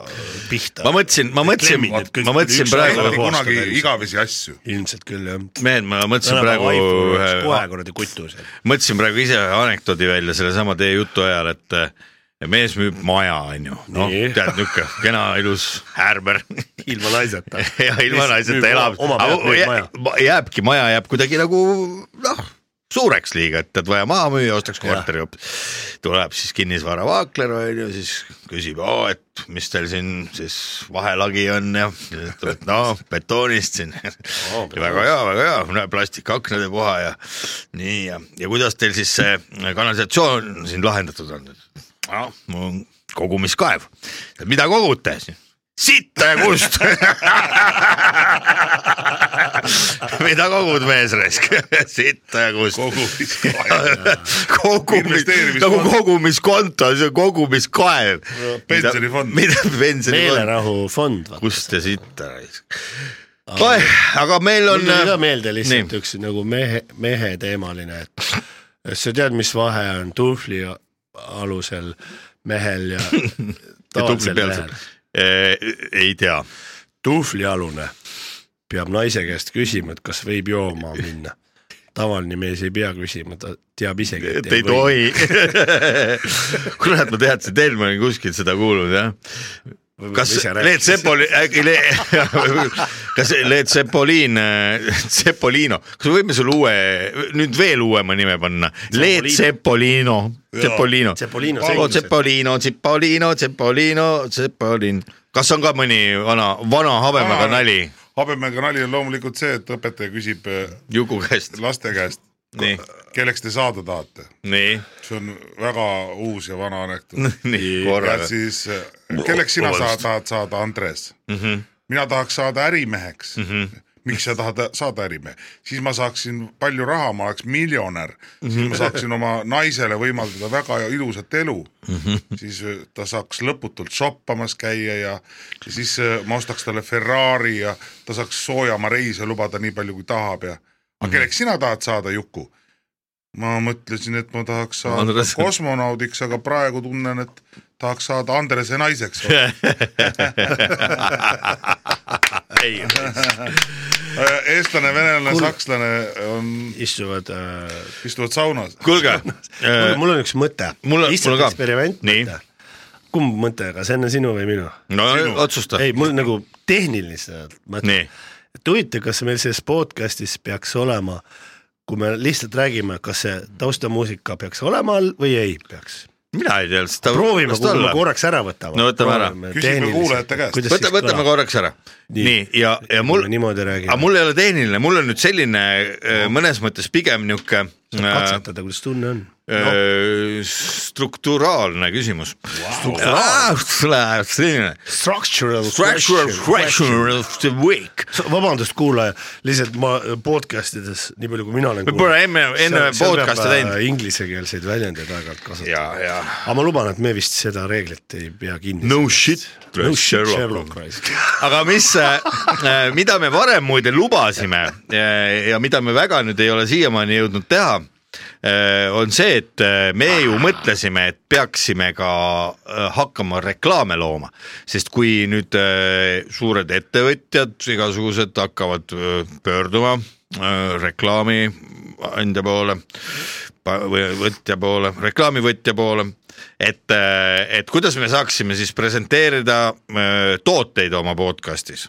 pihta .
ma mõtlesin , ma mõtlesin , ma mõtlesin
ei
praegu ,
kunagi igavesi asju .
ilmselt küll jah .
mehed , ma mõtlesin praegu ühe ,
kohe kuradi kutu seal .
mõtlesin praegu ise ühe anekdoodi välja sellesama teie jutu ajal , et äh, mees müüb maja , onju , noh ,
Nii.
tead niuke kena ilus häärber
ilma naiseta
ja ilma naiseta elab ,
oma pealt müüb maja .
jääbki , maja jääb kuidagi nagu noh , suureks liiga , et tead vaja maha müüa , ostaks korteri hoopis . tuleb siis kinnisvaravaakler on ju , siis küsib , et mis teil siin siis vahelagi on ja siis ütleb , et no betoonist siin oh, . väga hea , väga hea , plastikaknade puha ja nii ja , ja kuidas teil siis see kanalisatsioon siin lahendatud on ? noh , mul on kogumiskaev , mida kogute siis ? sitta ja kust . mida kogud mees raisk ? sitta ja kust . kogumis , nagu
Investeerimisfond.
kogumiskonto , see on kogumiskaev .
pensionifond.
mida pensionifond ,
meelerahufond , vaata .
kust ja sitta raisk . Oih, aga meil on äh,
mul tuli ka meelde lihtsalt
nii.
nii. üks nagu mehe , meheteemaline , et kas sa tead , mis vahe on tuhvli ja alusel mehel ja
tupli
tavalisel
peal
mehel .
saab . Äh, ei tea .
tuhvlialune peab naise käest küsima , et kas võib jooma minna . tavaline mees ei pea küsima , ta teab isegi ,
et ei tohi . kurat , ma teadsin , teil ma olin kuskilt seda kuulnud jah . kas Leet . Sepoli , äkki Le... , kas Leet Sepoliin , Sepolino , kas me võime sulle uue , nüüd veel uuema nime panna ? Leet Sepolino , Sepolino .
Sepolino
oh, .
selgus , et
Sepolino , Sepolino , Sepolino , Sepolin . kas on ka mõni vana , vana habemega nali
habemega nali on loomulikult see , et õpetaja küsib äh,
Juku käest ?
laste käest ,
nii ,
kelleks te saada tahate .
nii ,
see on väga uus ja vana anekdoot .
nii
ja
korraga .
siis , kelleks sina sa tahad saada , Andres mm ? -hmm. mina tahaks saada ärimeheks mm . -hmm. miks sa tahad saada ärimehe ? siis ma saaksin palju raha , ma oleks miljonär mm , -hmm. siis ma saaksin oma naisele võimaldada väga ilusat elu mm . -hmm. siis ta saaks lõputult shoppamas käia ja, ja siis äh, ma ostaks talle Ferrari ja ta saaks soojamaa reise lubada nii palju kui tahab ja . aga kelleks sina tahad saada , Juku ? ma mõtlesin , et ma tahaks saada
Andres-
Andres... kosmonaudiks , aga praegu tunnen , et tahaks saada Andrese naiseks . eestlane , venelane , sakslane on ,
istuvad äh, ,
istuvad saunas .
kuulge , äh,
mul on üks mõte .
Mul on- mul
lihtsalt
on ka.
eksperiment
Nii.
mõte . kumb mõte , kas enne sinu või minu ?
no otsusta .
ei , mul nagu tehniliselt mõte
nii ,
et huvitav , kas meil selles podcast'is peaks olema , kui me lihtsalt räägime , kas see taustamuusika peaks olema all või ei peaks .
mina ei tea , kas ta . nagu
proovime , kui me korraks ära võtame .
No võtame ära.
Küsime kuulajate käest.
võta , võtame . korraks ära .
Nii.
nii ja , ja mul ,
niimoodi räägime
aga . mul ei ole tehniline , mul on nüüd selline äh, mõnes mõttes pigem niuke äh,
katsetada , kuidas tunne on .
äh, strukturaalne küsimus wow. . selline
Structural
structural question of the week .
vabandust , kuulaja , lihtsalt ma podcast ides , nii palju kui mina olen .
Me pole enne- enne podcast'e teinud. .
inglisekeelseid väljendeid aeg-ajalt kasutama .
ja , ja
aga ma luban , et me vist seda reeglit ei pea kinni .
no shit ,
no shit ,
Sherlock
Sherlock . Rice .
aga mis , mida me varem muide lubasime äh, ja mida me väga nüüd ei ole siiamaani jõudnud teha , on see , et äh, me ju mõtlesime , et peaksime ka äh, hakkama reklaame looma , sest kui nüüd äh, suured ettevõtjad igasugused hakkavad äh, pöörduma äh, reklaami andja poole pa- või võtja poole , reklaamivõtja poole , et , et kuidas me saaksime siis presenteerida öö, tooteid oma podcast'is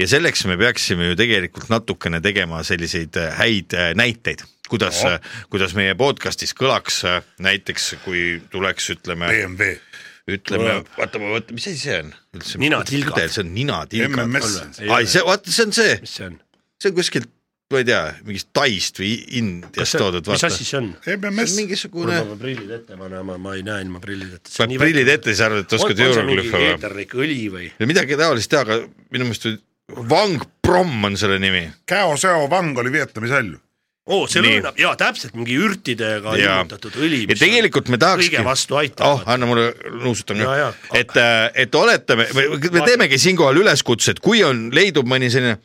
ja selleks me peaksime ju tegelikult natukene tegema selliseid öö, häid öö, näiteid , kuidas no. , kuidas meie podcast'is kõlaks öö, näiteks , kui tuleks , ütleme ,
BMW ,
ütleme , vaata , ma võtan , mis asi see on üldse ?
Ninatilgad.
see on ninatilgad .
MMS ,
ai , see , vaata , see on see ,
mis see on ?
see on kuskilt , ma ei tea , mingist Taist või Indiast toodud ,
mis
vaata .
asi see on ?
MMS ,
mul
mingisugune
peab prillid ette panema , ma ei näe ilma prillideta .
paned prillid ette , siis arvad , et oskad euroglyfe või ?
eeterlik õli või ?
midagi taolist teha , aga minu meelest oli- Wang Prom on selle nimi .
Käo Seo vang oli Vietnami salju .
oo , see
Nii.
lõhnab , jaa , täpselt mingi ürtidega
Jaa.
liigutatud õli .
ja tegelikult me tahakski .
kõige vastu aitab.
oh , anna mulle , nuusutan
Jaa,
ka
jaa. .
et , et oletame , me
Ma-
teemegi siinkohal üleskutse , et kui on , leidub mõni selline ,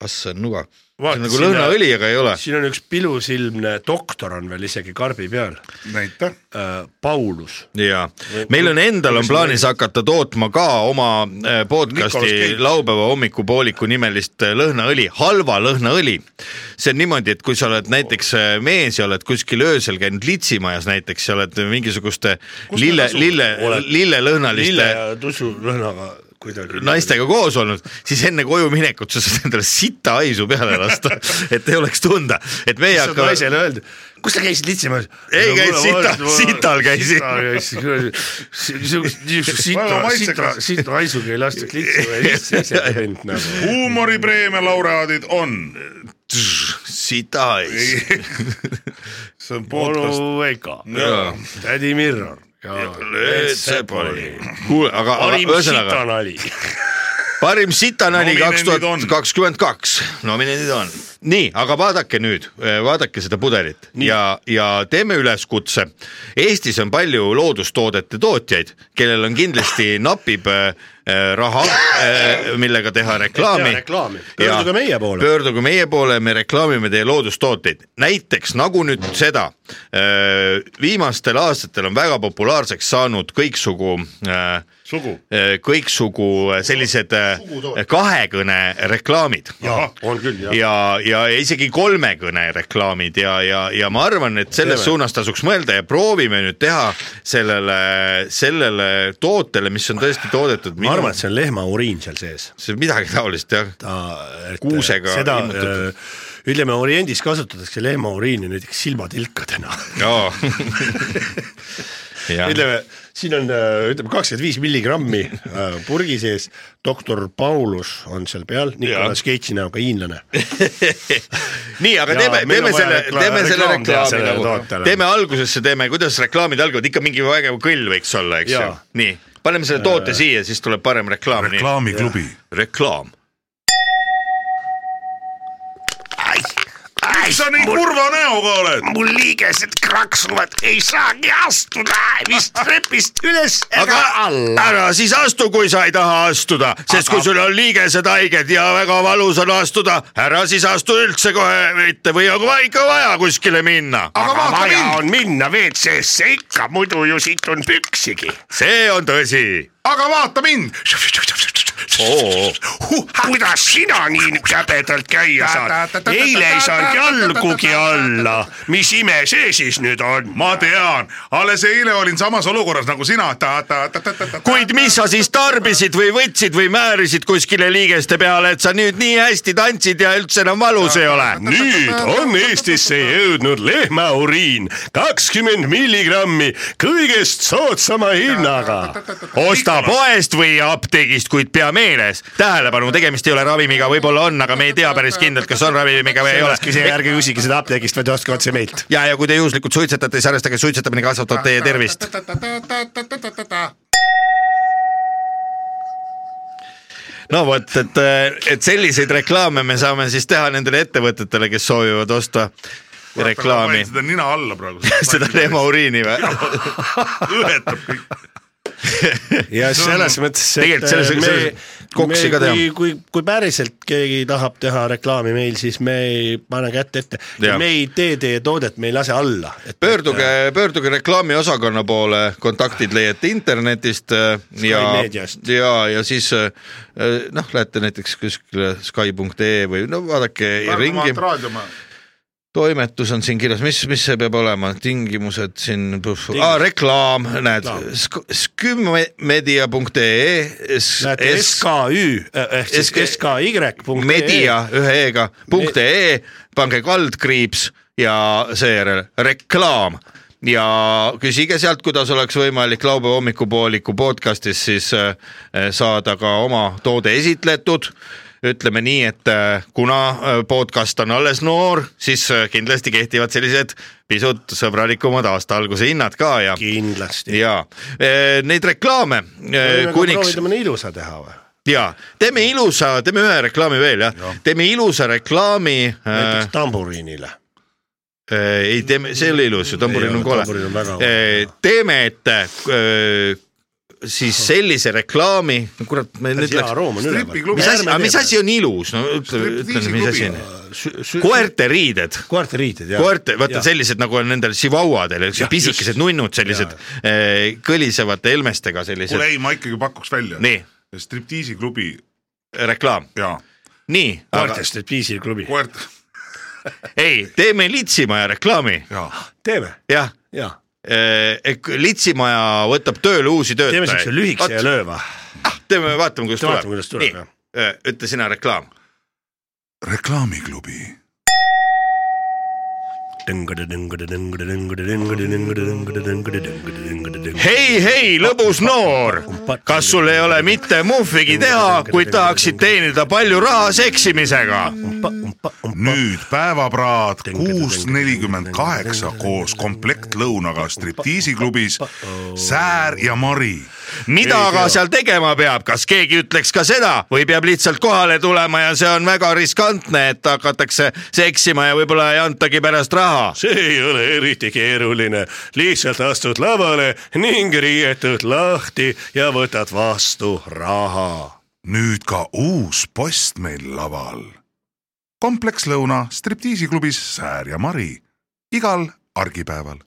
kas see on nuga , see on
Vaatasin
nagu lõhnaõli , aga ei ole .
siin on üks pilusilmne doktor on veel isegi karbi peal ,
näita ,
Paulus .
ja meil on endal on plaanis hakata tootma ka oma äh,
Nicolas
podcast'i
Cage.
laupäeva hommikupooliku nimelist äh, lõhnaõli , halva lõhnaõli . see on niimoodi , et kui sa oled näiteks äh, mees ja oled kuskil öösel käinud litsimajas näiteks ja oled mingisuguste lille , lille , lillelõhnaliste
lille ja tusu lõhnaga kuidagi .
naistega koos olnud , siis enne koju minekut sa saad endale sita haisu peale lasta , et ei oleks tunda , et meie
saad
hakkame .
naisele öelda , kus sa käisid litsimas ?
Ei käinud, sita- sital käisin.
niisugust , niisugust
Väga
sita , sita
maitsekas. ,
sita haisuga ei lastud litsima ja siis see ise tund nagu .
huumoripreemia laureaadid on ,
sita hais .
see on podcast ,
onu Veiko , tädi Mirror ja
Leet Sepoli . kuule , aga , aga
parim
ühesõnaga
sitanali .
parim sitanali kaks
Nominendid
tuhat kakskümmend kaks , nominendid on . nii , aga vaadake nüüd , vaadake seda pudelit nii. ja , ja teeme üleskutse . Eestis on palju loodustoodete tootjaid , kellel on kindlasti napib äh, raha , millega teha reklaami .
reklaami. Pöörduge meie poole.
pöörduge meie poole , me reklaamime teie loodustooteid , näiteks nagu nüüd seda . viimastel aastatel on väga populaarseks saanud kõiksugu äh,
sugu .
kõiksugu sellised äh, kahekõne reklaamid
on küll jah .
ja , ja isegi kolmekõne reklaamid ja , ja , ja ma arvan , et selles
Teeme.
suunas tasuks mõelda ja proovime nüüd teha sellele , sellele tootele , mis on tõesti toodetud
ma arvan , et see on lehma uriin seal sees .
see on midagi taolist jah ,
ta .
Kuusega
seda äh,
ilmutatud. ,
ütleme Oriendis kasutatakse lehma uriini näiteks silmatilkadena .
jaa . jah ,
ütleme , siin on öö, ütleme kakskümmend viis milligrammi öö, purgi sees , doktor Paulus on seal peal , Nicolas Cage'i näoga hiinlane .
nii , aga
Jaa,
teeme , teeme
meil on vaja
selle ,
rekla-
teeme selle
reklaam teha
reklaami
sellele
nagu
tootele. ,
teeme algusesse , teeme , kuidas reklaamid algavad , ikka mingi vägev kõll võiks olla , eks ju
Jaa. , Äh.
nii , paneme selle toote siia , siis tuleb parem reklaam , nii ,
reklaamiklubi .
reklaam .
miks sa nii kurva näoga oled ?
mul liigesed kraksuvad , ei saagi astuda vist trepist üles ega alla .
ära siis astu , kui sa ei taha astuda , sest kui sul on liigesed haiged ja väga valus on astuda , ära siis astu üldse kohe mitte või on va- ikka vaja kuskile minna .
aga
vaata
vaja
mind.
on minna WC-sse ikka , muidu ju siit on püksigi .
see on tõsi .
aga vaata mind .
kuidas sina nii käbedalt käia saad ? eile ei saanud jalgugi alla . mis ime see siis nüüd on ?
ma tean , alles eile olin samas olukorras nagu sina .
kuid mis sa siis tarbisid või võtsid või määrisid kuskile liigeste peale , et sa nüüd nii hästi tantsid ja üldse enam valus ei ole ?
nüüd on Eestisse jõudnud lehmauriin , kakskümmend milligrammi , kõigest soodsama hinnaga .
osta poest või apteegist , kuid pea meeles , tähelepanu , tegemist ei ole ravimiga , võib-olla on , aga me ei tea päris kindlalt , kas on ravimiga või ei ole .
ärge küsige seda apteegist , vaid ostke otse meilt .
ja , ja kui te juhuslikult suitsetate , siis arvestage , suitsetamine kasvatab teie tervist . no vot , et , et selliseid reklaame me saame siis teha nendele ettevõtetele , kes soovivad osta reklaami ,
seda nina alla praegu .
seda lehmauriini või ?
õhetab kõik .
ja selles mõttes , et äh,
Tegelikult selles-
me-
selles- koksi
me-
ka teha.
kui- kui , kui päriselt keegi tahab teha reklaami meil , siis me ei pane kätt ette ,
Jaa.
me ei tee teie toodet , me ei lase alla .
pöörduge , pöörduge reklaamiosakonna poole , kontaktid leiate internetist äh, ja
meediast. ,
ja , ja siis äh, noh , lähete näiteks kuskile Sky.ee või no vaadake ringi ,
raadiomaja .
toimetus on siin kirjas , mis , mis see peab olema , tingimused siin , ah, reklaam , näed , skümmedia.ee ,
näete SKÜ äh, ehk siis
SK
SKY punkt
media E. ühe e-ga punkt ee , pange kaldkriips ja seejärel reklaam ja küsige sealt , kuidas oleks võimalik laupäeva hommikupooliku podcast'is siis äh, saada ka oma toode esitletud ütleme nii , et äh, kuna äh, podcast on alles noor , siis äh, kindlasti kehtivad sellised pisut sõbralikumad aasta alguse hinnad ka ja ,
E kindlasti .
ja eh, neid reklaame eh, kuniks Eh.
proovida mõne ilusa teha või ?
ja teeme ilusa , teeme ühe reklaami veel jah ja. , teeme ilusa reklaami äh,
näiteks . tamburiinile .
äh, ei teeme , see ei ole ilus ju ,
Ei
tamburin on
ole,
kole
tamburin on väga .
Äh, teeme , et äh, siis sellise reklaami , kurat , me nüüd
hea
läks .
aroom on üleval .
stripiklubi.
mis asi , mis ? asi on ilus , no ütle , ütle , mis asi on .
äh,
koerte riided
koerte riided jah .
koerte , vaata . sellised nagu on nendel Chihuahuadel ,
Jah,
pisikesed
just.
nunnud , sellised äh, kõlisevate helmestega ,
kuule
sellised ,
ei , ma ikkagi pakuks välja .
Nii. .
striptiisiklubi
reklaam ,
ja
nii , aga
koertest nüüd piisiklubi .
koert ,
ei , teeme litsimaja reklaami ,
ja
teeme
jah
ja
ehk Eh, litsimaja võtab tööle uusi töötajaid .
teeme siukse lühikese ja . lööva .
teeme , vaatame , kuidas
Vaatame,
tuleb .
kuidas tuleb, jah.
nii , ütle sina reklaam .
reklaamiklubi .
hei , hei , lõbus noor , kas sul ei ole mitte muhvigi teha , kuid tahaksid teenida palju raha seksimisega ?
nüüd päevapraad kuus nelikümmend kaheksa koos komplektlõunaga striptiisiklubis Säär ja Mari .
Oh. mida aga seal tegema peab , kas keegi ütleks ka seda või peab lihtsalt kohale tulema ja see on väga riskantne , et hakatakse seksima ja võib-olla ei antagi pärast raha .
see ei ole eriti keeruline , lihtsalt astud lavale ning riietud lahti ja võtad vastu raha .
nüüd ka uus post meil laval . kompleks Lõuna striptiisiklubis Säär ja Mari igal argipäeval .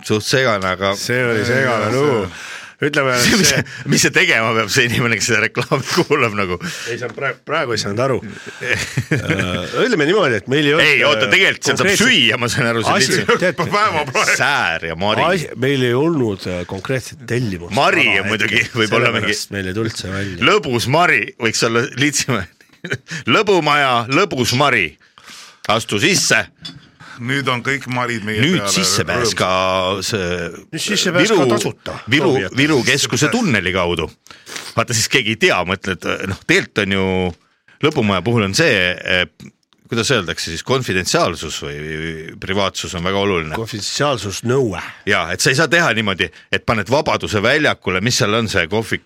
suht segane , aga
see oli segane lugu , ütleme ,
mis
see ,
mis see tegema peab , see inimene , kes seda reklaami kuulab nagu .
ei saanud praegu , praegu ei saanud aru . ütleme niimoodi , et meil ei olnud . äh,
ei oota , tegelikult seal saab . süüa , ma sain aru .
asi , tead ,
Säär ja Mari .
meil ei olnud äh, konkreetset tellimust .
Mari on muidugi võib-olla mingi- .
meil ei tulnud see välja .
lõbus Mari võiks olla lihtsam . lõbumaja , lõbus Mari . astu sisse ,
nüüd on kõik marid meie
nüüd
peale
sisse pääs
rõõmsad.
ka see
Nüüd sisse pääs ka
Viru-
tasuta.
Viru ,
Soovijate.
Viru keskuse tunneli kaudu . vaata siis keegi ei tea , mõtled , noh , tegelikult on ju lõbumaja puhul on see , kuidas öeldakse siis , konfidentsiaalsus või või privaatsus on väga oluline .
konfidentsiaalsusnõue .
ja et sa ei saa teha niimoodi , et paned Vabaduse väljakule , mis seal on see kohvik ,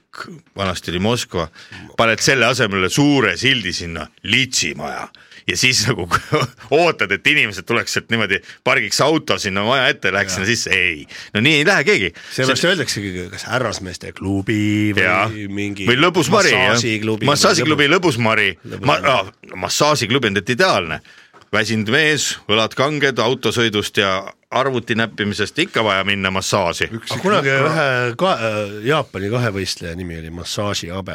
vanasti oli Moskva , paned selle asemele suure sildi sinna , litsimaja ja siis nagu ootad , et inimesed tuleks sealt niimoodi , pargiks auto sinna maja ette , läheks sinna sisse , ei , no nii ei lähe keegi .
seepärast öeldaksegi , kas härrasmeeste klubi või
ja ,
mingi .
või lõbus Mari , massaažiklubi . lõbus Mari ,
Lõbus
ma ah,
Mari. ,
massaažiklubi on tegelikult ideaalne . väsinud mees , õlad kanged autosõidust ja arvuti näppimisest ikka vaja minna massaaži .
aga kunagi ühe ka, äh, Jaapani kahevõistleja nimi oli Massaaži Abe .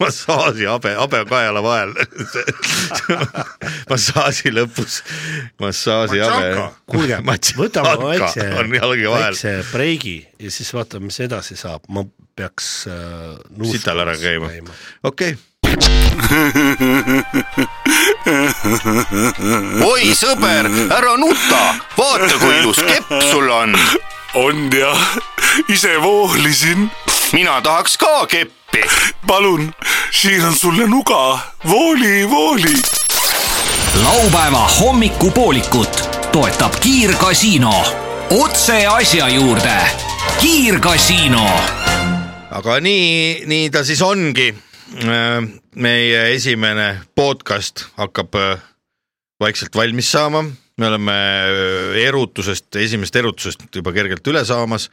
massaaži habe , habe kaela vahel . massaaži lõpus , massaaži habe
Matsaka. .
kuulge , võtame väikse ,
on jalge vahel ,
väikse breigi ja siis vaatame , mis edasi saab , ma peaks äh, .
sital ära käima . okei ,
oi sõber , ära nuta , vaata kui ilus kepp sul on .
on jah , ise voolisin .
mina tahaks ka keppi .
palun , siin on sulle nuga , vooli , vooli
laupäeva hommikupoolikut toetab Kiirgasiino . otse asja juurde . kiirgasiino .
aga nii , nii ta siis ongi . meie esimene podcast hakkab äh, vaikselt valmis saama , me oleme äh, erutusest , esimesest erutusest juba kergelt üle saamas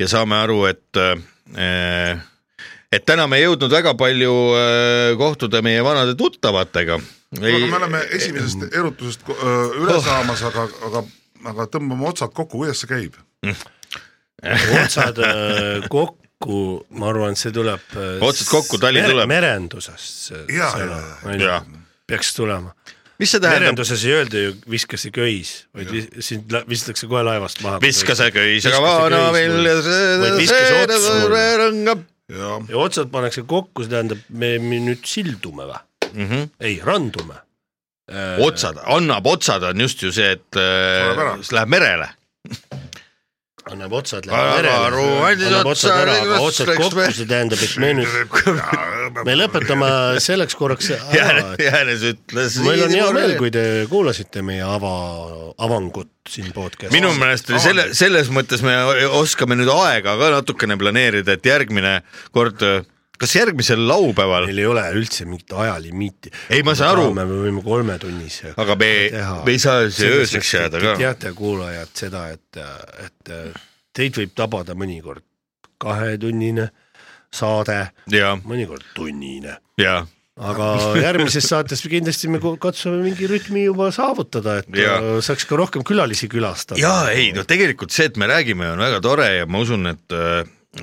ja saame aru , et äh, et täna me ei jõudnud väga palju äh, kohtuda meie vanade tuttavatega .
aga me oleme esimesest erutusest ko- öö, üle
Oh.
saamas , aga , aga , aga tõmbame otsad kokku , kuidas see käib ?
otsad äh, kokku , ma arvan , see tuleb äh, .
Otsad kokku, tali tuleb.
merendusest see
Jaa,
sõna
jaa, ,
on ju
Jaa. ,
peaks tulema
mis see tähendab ,
merenduses ei öelda ju viskase köis , vaid vi- sind lä- visatakse kohe laevast maha .
viska see köis , aga
Viska see
vana
köis
vill ja
mulle. Vaid viska see ots mulle.
rõngab .
ja
ja otsad pannakse kokku , see tähendab , me me nüüd sildume või ?
Mhm.
ei , randume .
otsad , annab otsad on just ju see , et
Tuleb ära.
äh, siis läheb merele .
annab otsad
Aga
läheb merele ,
aru andis
annab
otsa,
otsad ära , aga
läks-
otsad
läks
kokku
me- ,
see tähendab , et me nüüd , me lõpetame selleks korraks ära .
Jäänes ütles .
meil on hea meel , kui te kuulasite meie ava , avangut siin podcast'is .
minu meelest oli selle , selles mõttes me oskame nüüd aega ka natukene planeerida , et järgmine kord , kas järgmisel laupäeval ,
meil ei ole üldse mingit ajalimiiti .
Ei, ma saan aru.
me võime kolmetunnis .
aga me , me ei saa siia ööseks jääda ka .
teate , kuulajad , seda , et , et teid võib tabada mõnikord kahetunnine saade ,
ja ,
mõnikord tunnine ,
ja ,
aga järgmises saates me kindlasti me ko- katsume mingi rütmi juba saavutada , et
Jaa.
äh, saaks ka rohkem külalisi külastada .
ja ei no tegelikult see , et me räägime , on väga tore ja ma usun , et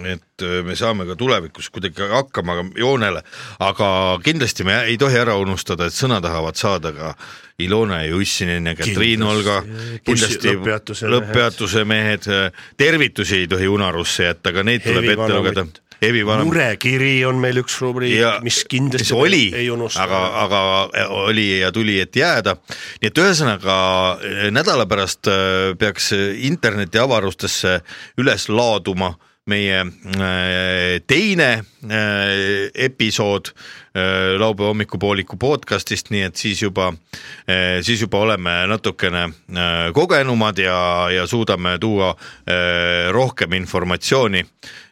et me saame ka tulevikus kuidagi hakkama ka joonele , aga kindlasti me ei tohi ära unustada , et sõna tahavad saada ka Ilona Jussinen ja Katriin
Kindlasti.
Olga ,
Bussi-
kindlasti
lõpppeatuse mehed.
lõpppeatuse mehed , tervitusi ei tohi unarusse jätta , ka neid tuleb
Eevi
ette lugeda
Vanamütt. .
Evi Vanamütt
murekiri on meil üks rubriik , mis kindlasti
mis oli ,
ei unusta .
aga , aga oli ja tuli , et jääda . nii et ühesõnaga äh, nädala pärast äh, peaks interneti avarustesse üles laaduma meie äh, teine äh, episood äh, laupäeva hommikupooliku podcast'ist , nii et siis juba äh, , siis juba oleme natukene äh, kogenumad ja , ja suudame tuua äh, rohkem informatsiooni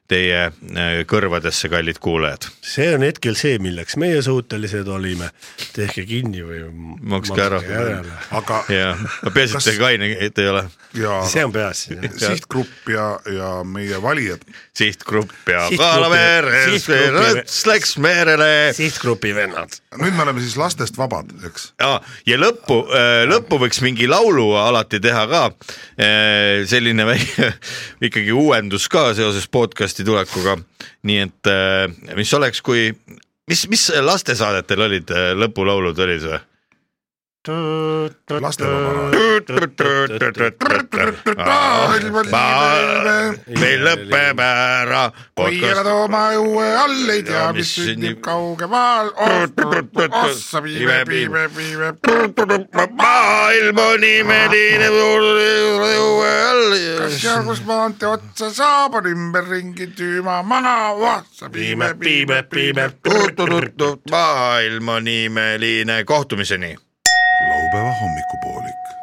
teie äh, kõrvadesse , kallid kuulajad .
see on hetkel see , milleks meie suutelised olime . tehke kinni või
makske ära .
aga
ja , peaasi , et
Kas-
te kaine ei ole ,
ja
see on peas .
sihtgrupp ja , ja meie valijad
sihtgrupp ja
Sihtgrupi-
kalaveres
sihtgrupi-
rõts läks merele
sihtgrupi vennad .
nüüd me oleme siis lastest vabad , eks .
ja , ja lõppu , lõppu võiks mingi laulu alati teha ka . selline väike ikkagi uuendus ka seoses podcast'i tulekuga . nii et eh, mis oleks , kui , mis , mis lastesaadetel olid , lõpulaulud olid või ? meil lõpeb ära
kui elad
podcast .
oma õue all , ei tea
Ja ,
mis
mis
sünnib
sünnib-
kauge maal . ossa piibe , piibe , piibe .
maailm on imeline , õue all
kas ja kus maantee otsa saab , on ümberringi tüüma maha , ossa piibe , piibe , piibe .
Tuut-tuut-tuut, maailm on imeline , kohtumiseni
laupäeva hommikupoolik